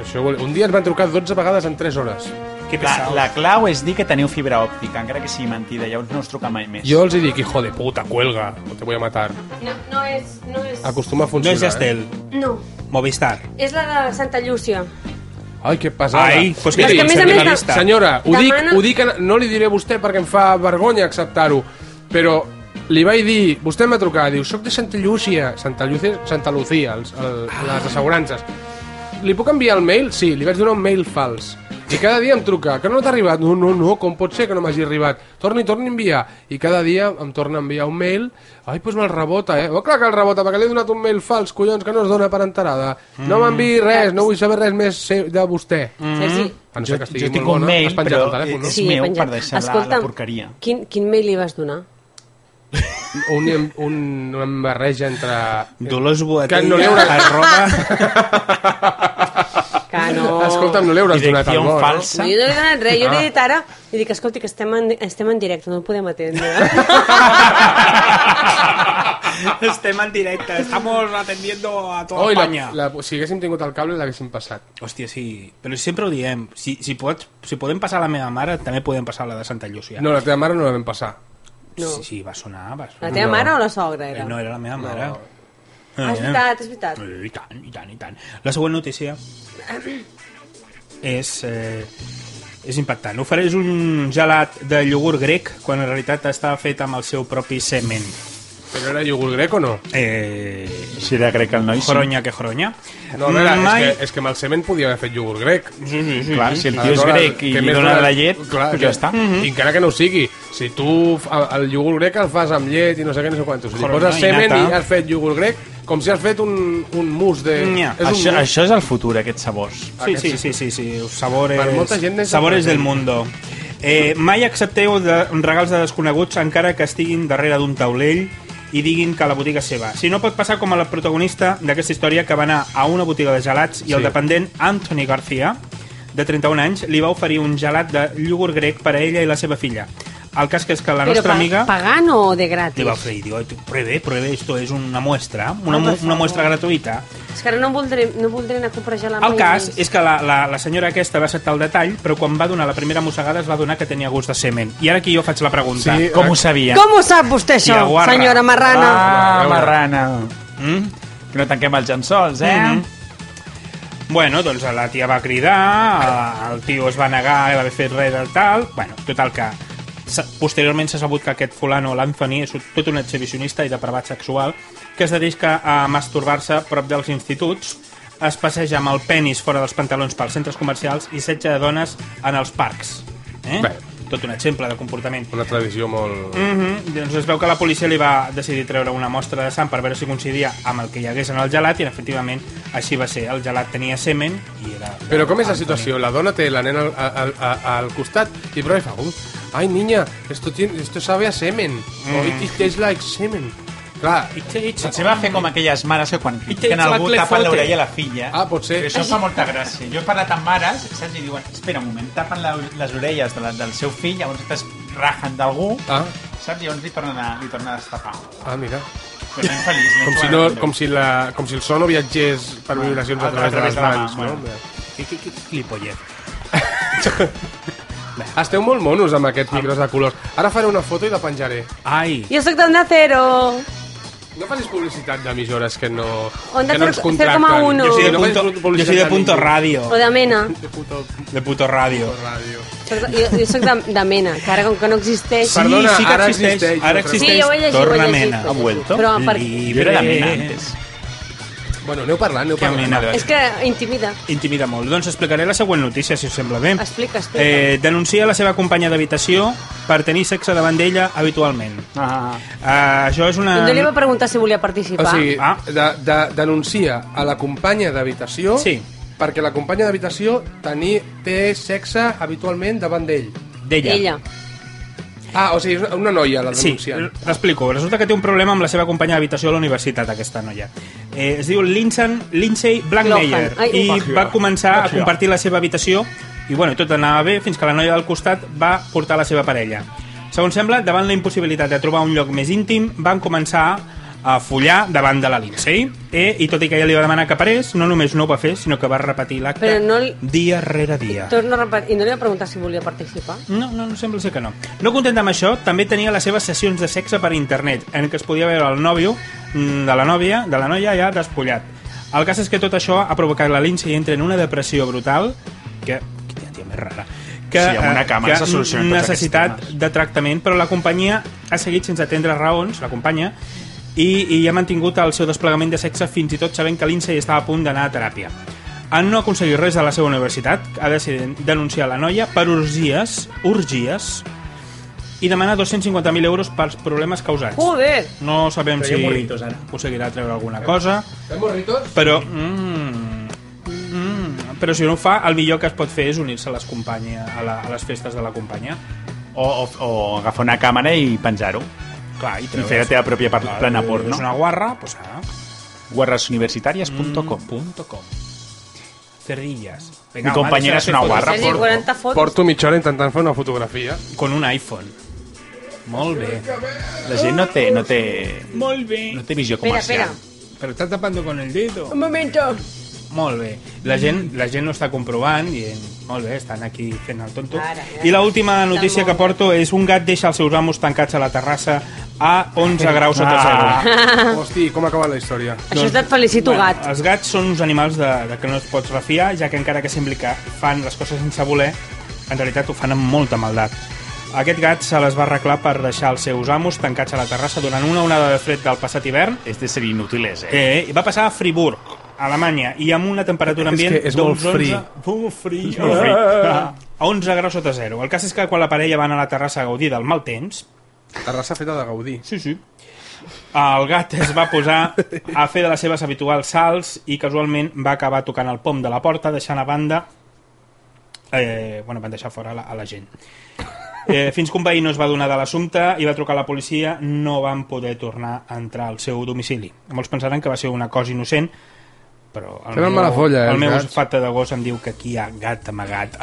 Això vol... Un dia ens van trucar 12 vegades en 3 hores. la, la clau és dir que teniu fibra òptica, encara que sigui mentida, llavors no us truca mai més. Jo els hi dic, hijo de puta, cuelga, o te voy a matar. No, no és... No és... Acostuma a funcionar. No és Yastel. Eh? No, Movistar. és la de Santa Llúcia. eh? Ai, que pesada. Ai, pues que Miri, és que a més a més de- senyora, senyora, ho dic, Demana- ho dic, en- no li diré a vostè perquè em fa vergonya acceptar-ho, però li vaig dir, vostè m'ha trucat, diu, soc de Santa Llúcia, Santa Llúcia, Santa Lucía, els, el, les assegurances. Li puc enviar el mail? Sí, li vaig donar un mail fals. I cada dia em truca, que no t'ha arribat? No, no, no, com pot ser que no m'hagi arribat? Torni, torni a enviar. I cada dia em torna a enviar un mail. Ai, doncs me'l rebota, eh? Oh, clar que el rebota, perquè li he donat un mail fals, collons, que no es dona per enterada. No Mm. m'enviï res, no vull saber res més se- de vostè. Mm. Sergi. A no Jo- ser que estigui jo tinc molt un bona, mail, has penjat però el telèfon, no? és Sí, meu penjat. per deixar la- la porqueria. Quin, quin mail li vas donar? Un, un, una barreja entre... Dolors Que no li haurà... Que no. Escolta'm, no li hauràs donat eh? el mort. No, jo no li he donat res, jo li Ah. he dit ara i dic, escolti, que estem en, estem en directe, no el podem atendre. Estem en directe. Estamos atendiendo a toda Oi, España. la, la, si haguéssim tingut el cable l'haguéssim passat. Hòstia, sí. Però sempre ho diem. Si, si, pots, si podem passar la meva mare, també podem passar la de Santa Llúcia. No, la teva mare no la vam passar. No. Ah, Sí, sí, va sonar. Va sonar. La teva No. mare o la sogra Eh, era? No, era la meva mare. No. Ah, és veritat, és veritat. I tant, i tant, i tant. La següent notícia és... Eh, és impactant. Ofereix un gelat de iogurt grec quan en realitat està fet amb el seu propi semen. Però era iogurt grec o no? Eh... Si era grec el noi, sí. Joronya que joronya. No, a veure, Mai- és, que, és que amb el semen podia haver fet iogurt grec. Sí, sí, sí. Clar, si el tio és grec i li dona la llet, clar, ja està. Mhm. I encara que no ho sigui, si tu f- el iogurt grec el fas amb llet i no sé què, no sé quantos. Si li Joder, poses no, i semen i nata. has fet iogurt grec, com si has fet un, un mus de... És un Mm, Això, mus. això és el futur, aquests sabors. Sí, sí, sí, sí, sí. Os Sabores, Per molta gent és- sabores del mundo. Eh, mai accepteu de, regals de desconeguts encara que estiguin darrere d'un taulell i diguin que la botiga és seva. Si no pot passar com a la protagonista d'aquesta història que va anar a una botiga de gelats i Sí. el dependent Anthony García, de 31 anys, li va oferir un gelat de iogurt grec per a ella i la seva filla. El cas que és que la Però nostra pa- amiga... pagant o de gratis? Li va oferir, diu, pruebe, pruebe, esto es una muestra, una, Ah, mu- per una favor. muestra gratuïta. És que ara no voldré, no voldré anar a comprar gelat. El cas és que la, la, la senyora aquesta va acceptar el detall, però quan va donar la primera mossegada es va donar que tenia gust de semen. I ara aquí jo faig la pregunta. Sí, Com ho sabia? Com ho sap vostè, això, Tia guarra. senyora Marrana? Ah, Veure. marrana. Mm? Que no tanquem els llençols, eh? Mhm. Bueno, doncs la tia va cridar, el tio es va negar, va haver fet res del tal... Bueno, total que s'ha- posteriorment s'ha sabut que aquest fulano, l'Anthony, és tot un exhibicionista i depravat sexual que es dedica a masturbar-se prop dels instituts, es passeja amb el penis fora dels pantalons pels centres comercials i setja de dones en els parcs. Eh? Bé. Tot un exemple de comportament. Una tradició molt... Mm. Mhm, Doncs es veu que la policia li va decidir treure una mostra de sang per veure si coincidia amb el que hi hagués en el gelat i efectivament així va ser. El gelat tenia semen i era... Però com és la situació? La dona té la nena al, al, al, al costat i però fa... "Uh, Ai, niña, esto, tiene, esto sabe a semen. Mm. Oh, it tastes like semen. Clar. Potser va fer com aquelles mares que quan critiquen algú tapen l'orella a la filla. Ah, potser. Que això em fa molta gràcia. Jo he parlat amb mares, saps? I diuen, espera un moment, tapen la, les orelles de la, del seu fill, llavors es rajen d'algú, Ah. saps? Llavors li tornen a, li tornen a destapar. Ah, mira. Però nen feliç, nen Com si, jugador. no, com, si la, com si el so no viatgés per vibracions a, través de les la mà, mans. No? bueno. Qui, qui, qui, clipollet. Esteu molt monos amb aquests micros de colors. Ara faré una foto i la penjaré. Ai! Jo sóc d'Onda Cero. No facis publicitat d'emissores que no, Onda que no ens Cero- contracten. 0,1. Jo Sí, soy de punto, jo soy de punto radio. O de Mena. De puto radio. Soc de- Jo, jo soc de, de Mena, que ara com que no existeix... Sí, Perdona, sí que ara existeix, existeix. ara existeix. Sí, jo ho he llegit, Torna ho he llegit. Mena. Ha vuelto? Però per... Libre. Jo era de Mena antes. Bueno, aneu parlant, aneu parlant. Camina, És que intimida. Intimida molt. Doncs explicaré la següent notícia, si us sembla bé. Explica, explica. Eh, denuncia la seva companya d'habitació per tenir sexe davant d'ella habitualment. Ah. Eh, això és una... Jo li va preguntar si volia participar. O sigui, de, de, denuncia a la companya d'habitació sí. perquè la companya d'habitació tenir té sexe habitualment davant d'ell. D'ella. Ella. Ah, o sigui, és una noia la Sí, denunciant. t'explico. Resulta que té un problema amb la seva companya d'habitació a la universitat, aquesta noia. Eh, es diu Lindsay, Lindsay Blackmeyer Lohan. Ai, i Lohan. va començar a Lohan. compartir la seva habitació i bueno, tot anava bé fins que la noia del costat va portar la seva parella. Segons sembla, davant la impossibilitat de trobar un lloc més íntim, van començar a follar davant de la Lindsay eh, i tot i que ella li va demanar que parés, no només no ho va fer, sinó que va repetir l'acte Però no, li- dia rere dia. torno a repetir, i no li va preguntar si volia participar. No, no, no sembla ser que no. No content amb això, també tenia les seves sessions de sexe per internet, en què es podia veure el nòvio mm, de la nòvia, de la noia ja despullat. El cas és que tot això ha provocat que la Lindsay entra en una depressió brutal que... Quina tia més rara. Que, Sí, amb una eh, càmera que se solucionen tots necessitat de tractament, però la companyia ha seguit sense atendre raons, la companya, i, i ha mantingut el seu desplegament de sexe fins i tot sabent que Lindsay estava a punt d'anar a teràpia. En no aconseguir res de la seva universitat, ha decidit denunciar la noia per orgies, orgies, i demanar 250.000 euros pels problemes causats. Joder! No sabem Traiem si morritos, ara. aconseguirà treure alguna cosa, Fem morritos? però... Mm, mm, però si no ho fa, el millor que es pot fer és unir-se a les companyia, a, la, a les festes de la companyia. O, o, o agafar una càmera i penjar-ho. Clar, i, I fer la teva pròpia part, plana porno. És una guarra, doncs ara... guarrasuniversitàries.com .com Cerdillas. Mi compañera vamos a es una hacer guarra, fotos. Sergi, por- 40 fotos. Porto mitja hora intentant fer una fotografia. Con un iPhone. Molt bé. La gent no té, no té, Molt bé. no té visió Espera, comercial. espera. Però està tapando con el dedo. Un momento. Molt bé. La gent, la gent ho està comprovant i molt bé, estan aquí fent el tonto. Ara, I la última notícia que porto és un gat deixa els seus amos tancats a la terrassa a 11 graus sota Ah. zero. Hosti, com ha acabat la història? Això és et felicito, gat. Els gats són uns animals de, de que no et pots refiar, ja que encara que sembli que fan les coses sense voler, en realitat ho fan amb molta maldat. Aquest gat se les va arreglar per deixar els seus amos tancats a la terrassa durant una onada de fred del passat hivern. És de ser inútiles, eh? Eh, i va passar a Friburg, a Alemanya, i amb una temperatura És ambient que és molt free. Molt free. És molt free. Ah. A 11 graus sota zero. El cas és que quan la parella va anar a la terrassa a gaudir del mal temps... Terrassa feta de Gaudí. Sí, sí. El gat es va posar a fer de les seves habituals salts i casualment va acabar tocant el pom de la porta, deixant a banda... Eh, bueno, van deixar fora la, a la gent. Eh, fins que un veí no es va donar de l'assumpte i va trucar a la policia, no van poder tornar a entrar al seu domicili. Molts pensaran que va ser una cosa innocent, però el Tenen mala folla, eh, el meu els gats. fata de gos em diu que aquí hi ha gat amagat.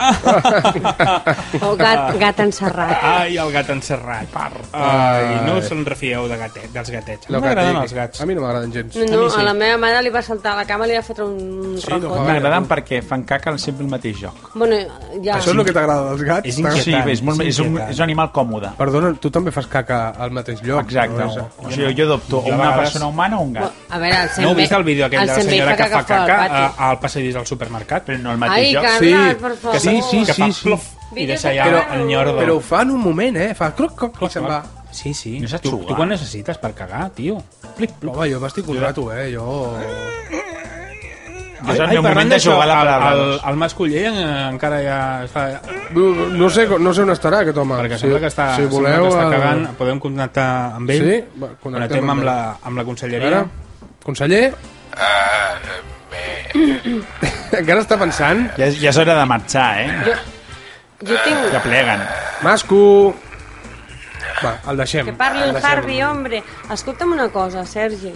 O gat, gat encerrat. Ai, el gat encerrat. Ai, no se'n refieu de gatet, dels gatets. Lo No m'agraden gatet. els gats. A mi no m'agraden gens. No, no, a la meva mare li va saltar a la cama i li va fotre un sí, rajot. M'agraden perquè fan caca sempre al mateix lloc. Bueno, ja... que t'agrada dels gats? És inquietant. Sí, és, molt, és, un, és un animal còmode. Perdona, tu també fas caca al mateix lloc. Exacte. No, és- O sigui, jo adopto Jo a una vegades- persona humana o un gat. A veure, No el heu Senbei- vist el vídeo aquell de la Senbei senyora que fa caca fora al pati. a- al passadís del supermercat? Però no al mateix Ai, lloc. Carles, per favor. Que, sí, sí, que fa sí, sí. plof i Vídeos deixa ja de el nyordo. Però ho fa en un moment, eh? Fa croc, croc, i se'n va. Sí, sí. No saps tu, jugar. tu quan necessites per cagar, tio? Plip, plop. Home, jo m'estic un rato, eh? Jo... Ai, ai, parlant d'això, el, el, el Mascoller eh, encara ja està... No sé, no sé on estarà aquest home. Perquè sembla que està, si sembla voleu, que està eh, cagant. Podem contactar amb ell? Sí? Va, connectem Connectem amb amb la, ell. amb la conselleria. Ara, conseller? Ah, eh, Encara està pensant? Ja, és- ja és hora de marxar, eh? Jo tinc... Que pleguen. Masco! Va, el deixem. Que parli el el deixem. Harvey, hombre. Escolta'm una cosa, Sergi.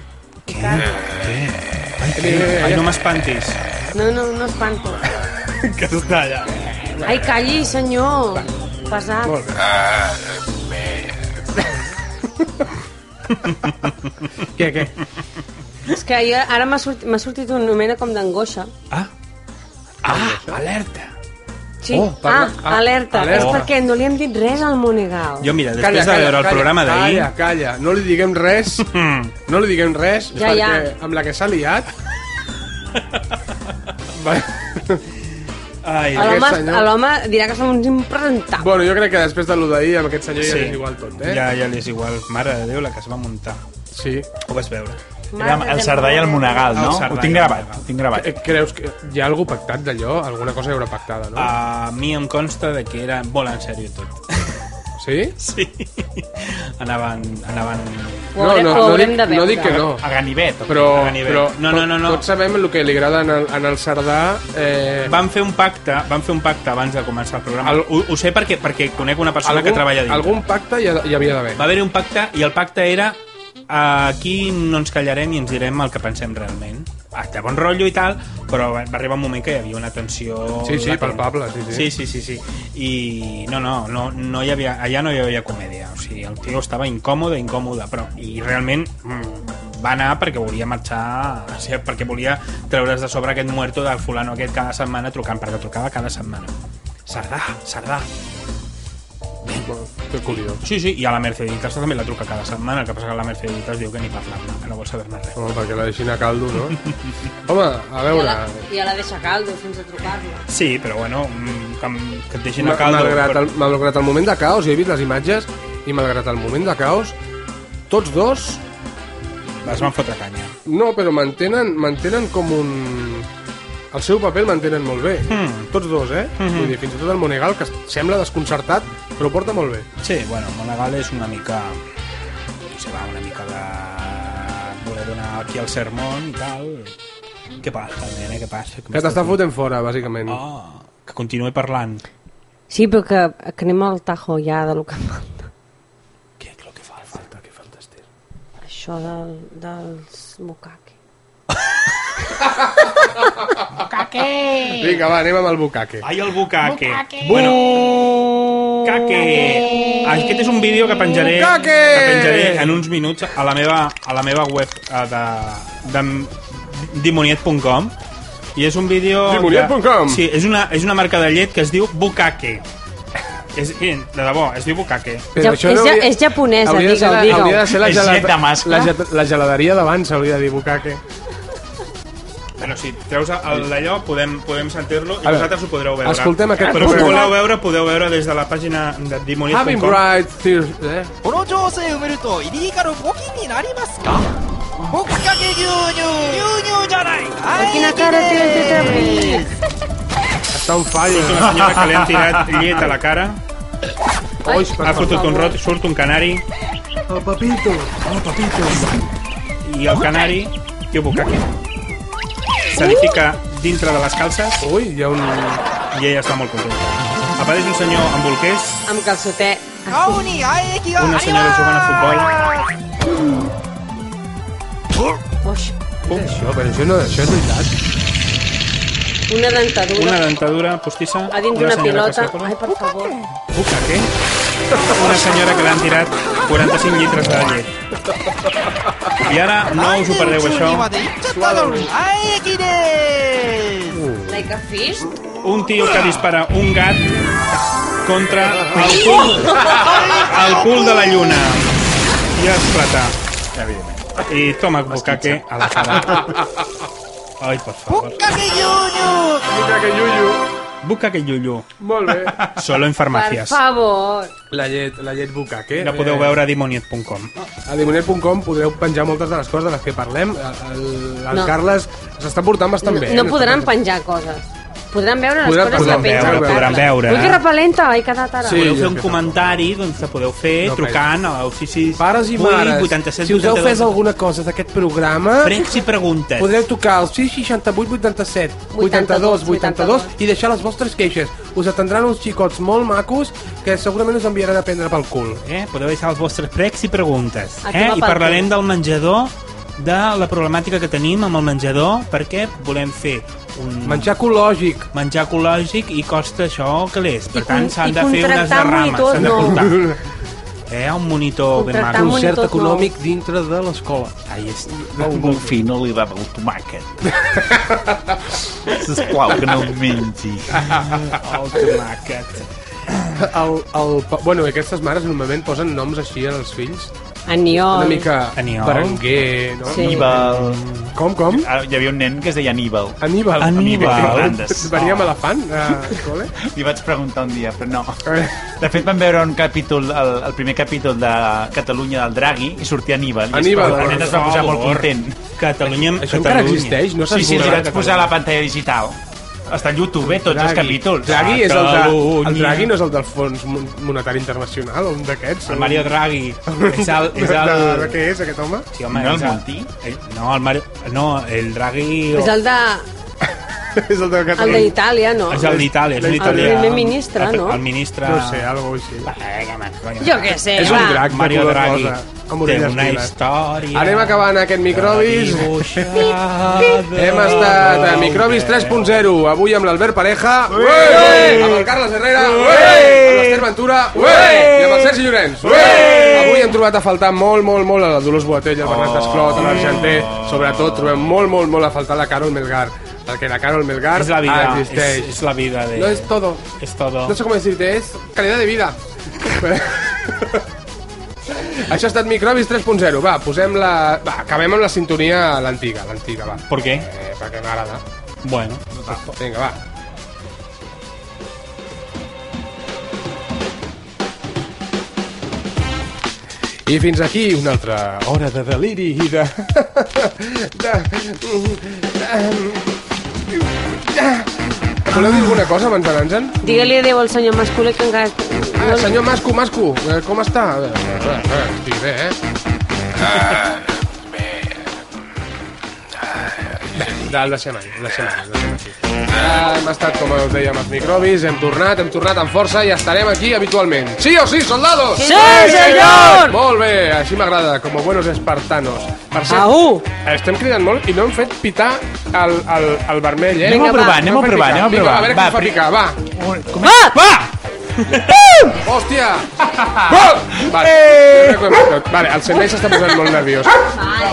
Ai, no m'espantis. No, no, no espanto. Que està allà. Ai, calli, senyor. Pesat. Molt bé. Què, què? És que jo, ara m'ha sortit, m'ha sortit un moment com d'angoixa. Ah, alerta. Sí. Oh, parla- ah, ah, alerta. alerta. És perquè no li hem dit res al Monegal. Jo, mira, després de mm. veure el programa d'ahir- Calla, calla, no li diguem res, no li diguem res, Ja, perquè ja. amb la que s'ha liat... Va- Ai, A l'home- aquest senyor- a l'home dirà que som uns impresentables. Bueno, jo crec que després de lo d'ahir amb aquest senyor ja Sí. és igual tot, eh? Ja, ja li és igual. Mare de Déu, la que es va muntar. Sí. Ho vas veure. Era el Cerdà i el Monegal, no? El Cerdà Ho tinc i el gravat, ho tinc gravat. Eh, Creus que hi ha algú pactat d'allò? Alguna cosa hi haurà pactada, no? A mi em consta de que era molt en sèrio tot. Sí? Sí. Anaven... anaven... dic, no dic que no. A ganivet. o què? Però, A ganivet. però no, no, no, no. tots sabem el que li agrada en el, en el Cerdà. Eh, Van fer un pacte, van fer un pacte abans de començar el programa. Al- Ho, ho sé perquè, perquè conec una persona algun, que treballa dintre. Algun pacte hi, ha- hi havia d'haver. Va haver-hi un pacte i el pacte era eh, aquí no ens callarem i ens direm el que pensem realment. Hasta bon rotllo i tal, però va va arribar un moment que hi havia una tensió... Sí, sí, latent. palpable, sí, sí. Sí, sí, sí, sí. I no, no, no, no hi havia, allà no hi havia comèdia. O sigui, el tio estava incòmode, incòmode, però... I realment mm, va anar perquè volia marxar, o sigui, perquè volia treure's de sobre aquest muerto del fulano aquest cada setmana trucant, perquè trucava cada setmana. Cerdà, Cerdà, Que curiós. Sí, sí, i a la Merceditas també la truca cada setmana, el que passa que la Merceditas diu que ni parlar-ne, que no vol saber-ne res. Home, perquè la deixin a caldo, no? Home, a I a veure... la, i a la deixa caldo fins a trucar-lo. Sí, però bueno, mm, que, em- que et deixin Ma- a caldo... malgrat, però- el, malgrat el moment de caos, jo he vist les imatges, i malgrat el moment de caos, tots dos... Es van fotre canya. No, però mantenen, mantenen com un... El seu paper el mantenen molt bé. Mm. Tots dos, eh? Mhm. Vull dir, fins i tot el Monegal, que sembla desconcertat, però ho porta molt bé. Sí, bueno, Monegal és una mica... Se va una mica de... voler donar aquí el sermón i tal... Què passa, nena, què passa? Que t'està fotent fora, bàsicament. Oh, que continuï parlant. Sí, però que, que anem al tajo ja de lo que falta. Què és el que fa falta? Què falta, Esther? Això del, dels mukake. mukake! Vinga, va, anem amb el bucaque. Ai, el bucaque. Bueno, Bucaque. Aquest és un vídeo que penjaré, Bucaque! que penjaré en uns minuts a la meva, a la meva web eh, de, de dimoniet.com i és un vídeo... de- Dimoniet.com. Sí, és una, és una marca de llet que es diu Bucaque. És, eh, de debò, es diu Bucaque. Però Ja- això és, no ja- hauria- és japonesa, Hauria de ser digue-ho, la, digue-ho. hauria de ser la, És gelada- llet de mascle? la, ge- la geladeria d'abans, hauria de dir bucaque. Bueno, si treus el d'allò, podem, podem sentir-lo A i veure, vosaltres ho podreu veure. escoltem aquest Però si programa. voleu veure, podeu veure des de la pàgina de Having dimoniet.com. bright tears, eh? この調整埋めるとイリーガル募金になりますか僕かけ牛乳牛乳じゃないはい està un fallo. Surt una senyora que li han tirat llet a la cara. Oi, ha fotut un rot, surt un canari. El papito. El papito. I el canari, tio Bukaki, se li fica dintre de les calces. Ui, hi ha un... I ella està molt contenta. Apareix un senyor amb bolquers, Amb calçotet. 顔に愛液がありま una す senyora jugant a futbol. Com això? Però això, no, això és veritat. Una dentadura. Una dentadura postissa. a dins d'una senyora que pilota. s'acola. Ai, per favor. Bukaki. Una senyora que l'han tirat 45 litres de llet. I ara no us ho perdeu, això. まで行っちゃったのに愛液でーす Like a fish? un tio que dispara un gat contra el cul, el cul de la lluna i esclata. I toma bucaque a la cara. Ai, per favor. かけ牛乳 Bucaque yuyu. Bucaque llullu. Molt bé. Solo en Per farmàcies. favor. La llet, la llet bucaque. Eh. La podeu veure a dimoniet.com. A dimonet.com podreu penjar moltes de les coses de les que parlem. El, el, el No. Carles s'està portant bastant No, bé. no eh? podran penjar coses. Podran veure les Podran- coses podran que penja veure, el Carles. podran veure. eh? Ui, que eh, repelenta, he quedat ara. Sí, podeu fer un comentari, doncs la podeu fer No, trucant al 668 Pares i mares, 87 si us heu fet 82. alguna cosa d'aquest programa, Frecs i preguntes. podreu tocar al 668 87 82 82 i deixar les vostres queixes. Us atendran uns xicots molt macos que segurament us enviaran a prendre pel cul. Eh? Podeu deixar els vostres pregs i preguntes. Aquí Eh? va I pel parlarem cul. del menjador, de la problemàtica que tenim amb el menjador, perquè volem fer un... Menjar ecològic. Menjar ecològic i costa això calés. Per I tant, con- s'han i de fer unes contractar derrames, monitors, s'han de no. portar. Eh, un monitor ben Contractar maco. Concert monitors, econòmic no. dintre de l'escola. Ai, és... El Bonfí no li dava el tomàquet. Sisplau, que no el mengi. El tomàquet. El, el, pa- bueno, aquestes mares normalment posen noms així als fills Aniol. Una mica Aniol. Berenguer, no? Sí. Aníbal. Ah, Com, com? Hi havia un nen que es deia Aníbal. Aníbal. eh, Fernández. Veníem a la fan, a col·le? Li vaig preguntar un dia, però no. De fet, vam veure un capítol, el, el primer capítol de Catalunya del Dragui, i sortia Aníbal. I es- Aníbal, el nen es va per posar favor. molt content. Catalunya... Això encara Catalunya. existeix? No s'ha sí, sí, li esborrat, vaig posar a la pantalla digital. Està a YouTube, eh, tots els Draghi. capítols. Draghi és el, de, el Catalunya. Draghi no és el del Fons Mon- Monetari Internacional, un d'aquests? El Mario Draghi. És el... És el... De, de, què és aquest home? Sí, home, és Eh, No, el Mario... No, el Draghi... És el de... és el de El d'Itàlia, no? És el d'Itàlia, és El l'italià. primer ministre, no? El ministre... No sé, algo així. Jo què sé, És un va. drac, Mario de color Draghi. rosa, amb Té orelles una liles. història... Anem acabant aquest microbis. Hem Oh, estat a Microbis 3.0, avui amb l'Albert Pareja, ué, amb el Carles Herrera, ué, amb l'Ester Ventura, ué, i amb el Sergi Llorenç. Ué! Avui hem trobat a faltar molt, molt, molt a la Dolors Boatell, el Oh. Bernat Esclot, a l'Argenter, sobretot trobem molt, molt, molt a faltar la Carol Melgar, perquè la Carol Melgar És la vida, existeix. és, és la vida de... No és todo. És todo. No sé com dir-te, és calidad de vida. Això ha estat Microbis 3.0. Va, posem la... Va, acabem amb la sintonia l'antiga, l'antiga, va. Per què? Eh, perquè m'agrada. Bueno. Va, vinga, va. I fins aquí una altra hora de deliri i de... de... Voleu dir alguna cosa abans d'anar-nos-en? Digue-li adéu al senyor Mascolell que encara... Ah, senyor Masco, Masco, eh, com està? A veure, a veure, a veure, Estic bé, eh? Bé, de- el deixem aquí, el deixem aquí. el deixem aquí. Ah, Hem estat, com us dèiem, els microbis, hem tornat, hem tornat amb força i estarem aquí habitualment. Sí o sí, soldados? Sí, senyor! Molt bé, així m'agrada, com buenos espartanos. Per cert, estem cridant molt i no hem fet pitar el, el, el vermell, eh? Anem-ho provant, anem-ho No hem fet provant, picar. anem-ho Vinga, provant. va, a veure Va, com fa pri- picar, va. Hòstia! Vale, Eh. jo crec que ho hem fet tot. vale, el Servei s'està posant molt nerviós. Ai,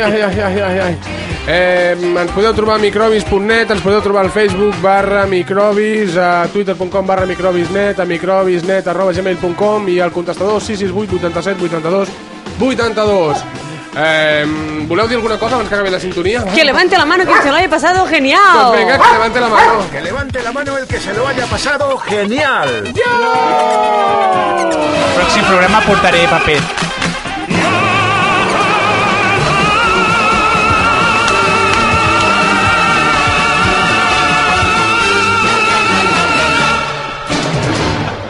ai, ai, ai, ai, ai. Eh, ens podeu trobar a microbis.net, ens podeu trobar al Facebook barra microbis, a twitter.com barra microbisnet, a microbisnet arroba gmail.com i al contestador 668 87 82 82. Eh, voleu dir alguna cosa abans que acabi la sintonia? Que levante la mano que se lo haya pasado Pues genial. venga, que levante la mano. Que levante la mano el que se lo haya pasado genial. El pròxim programa portaré paper.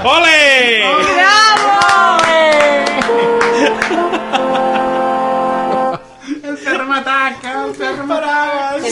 Ole! El Fermatac, el Fermatac.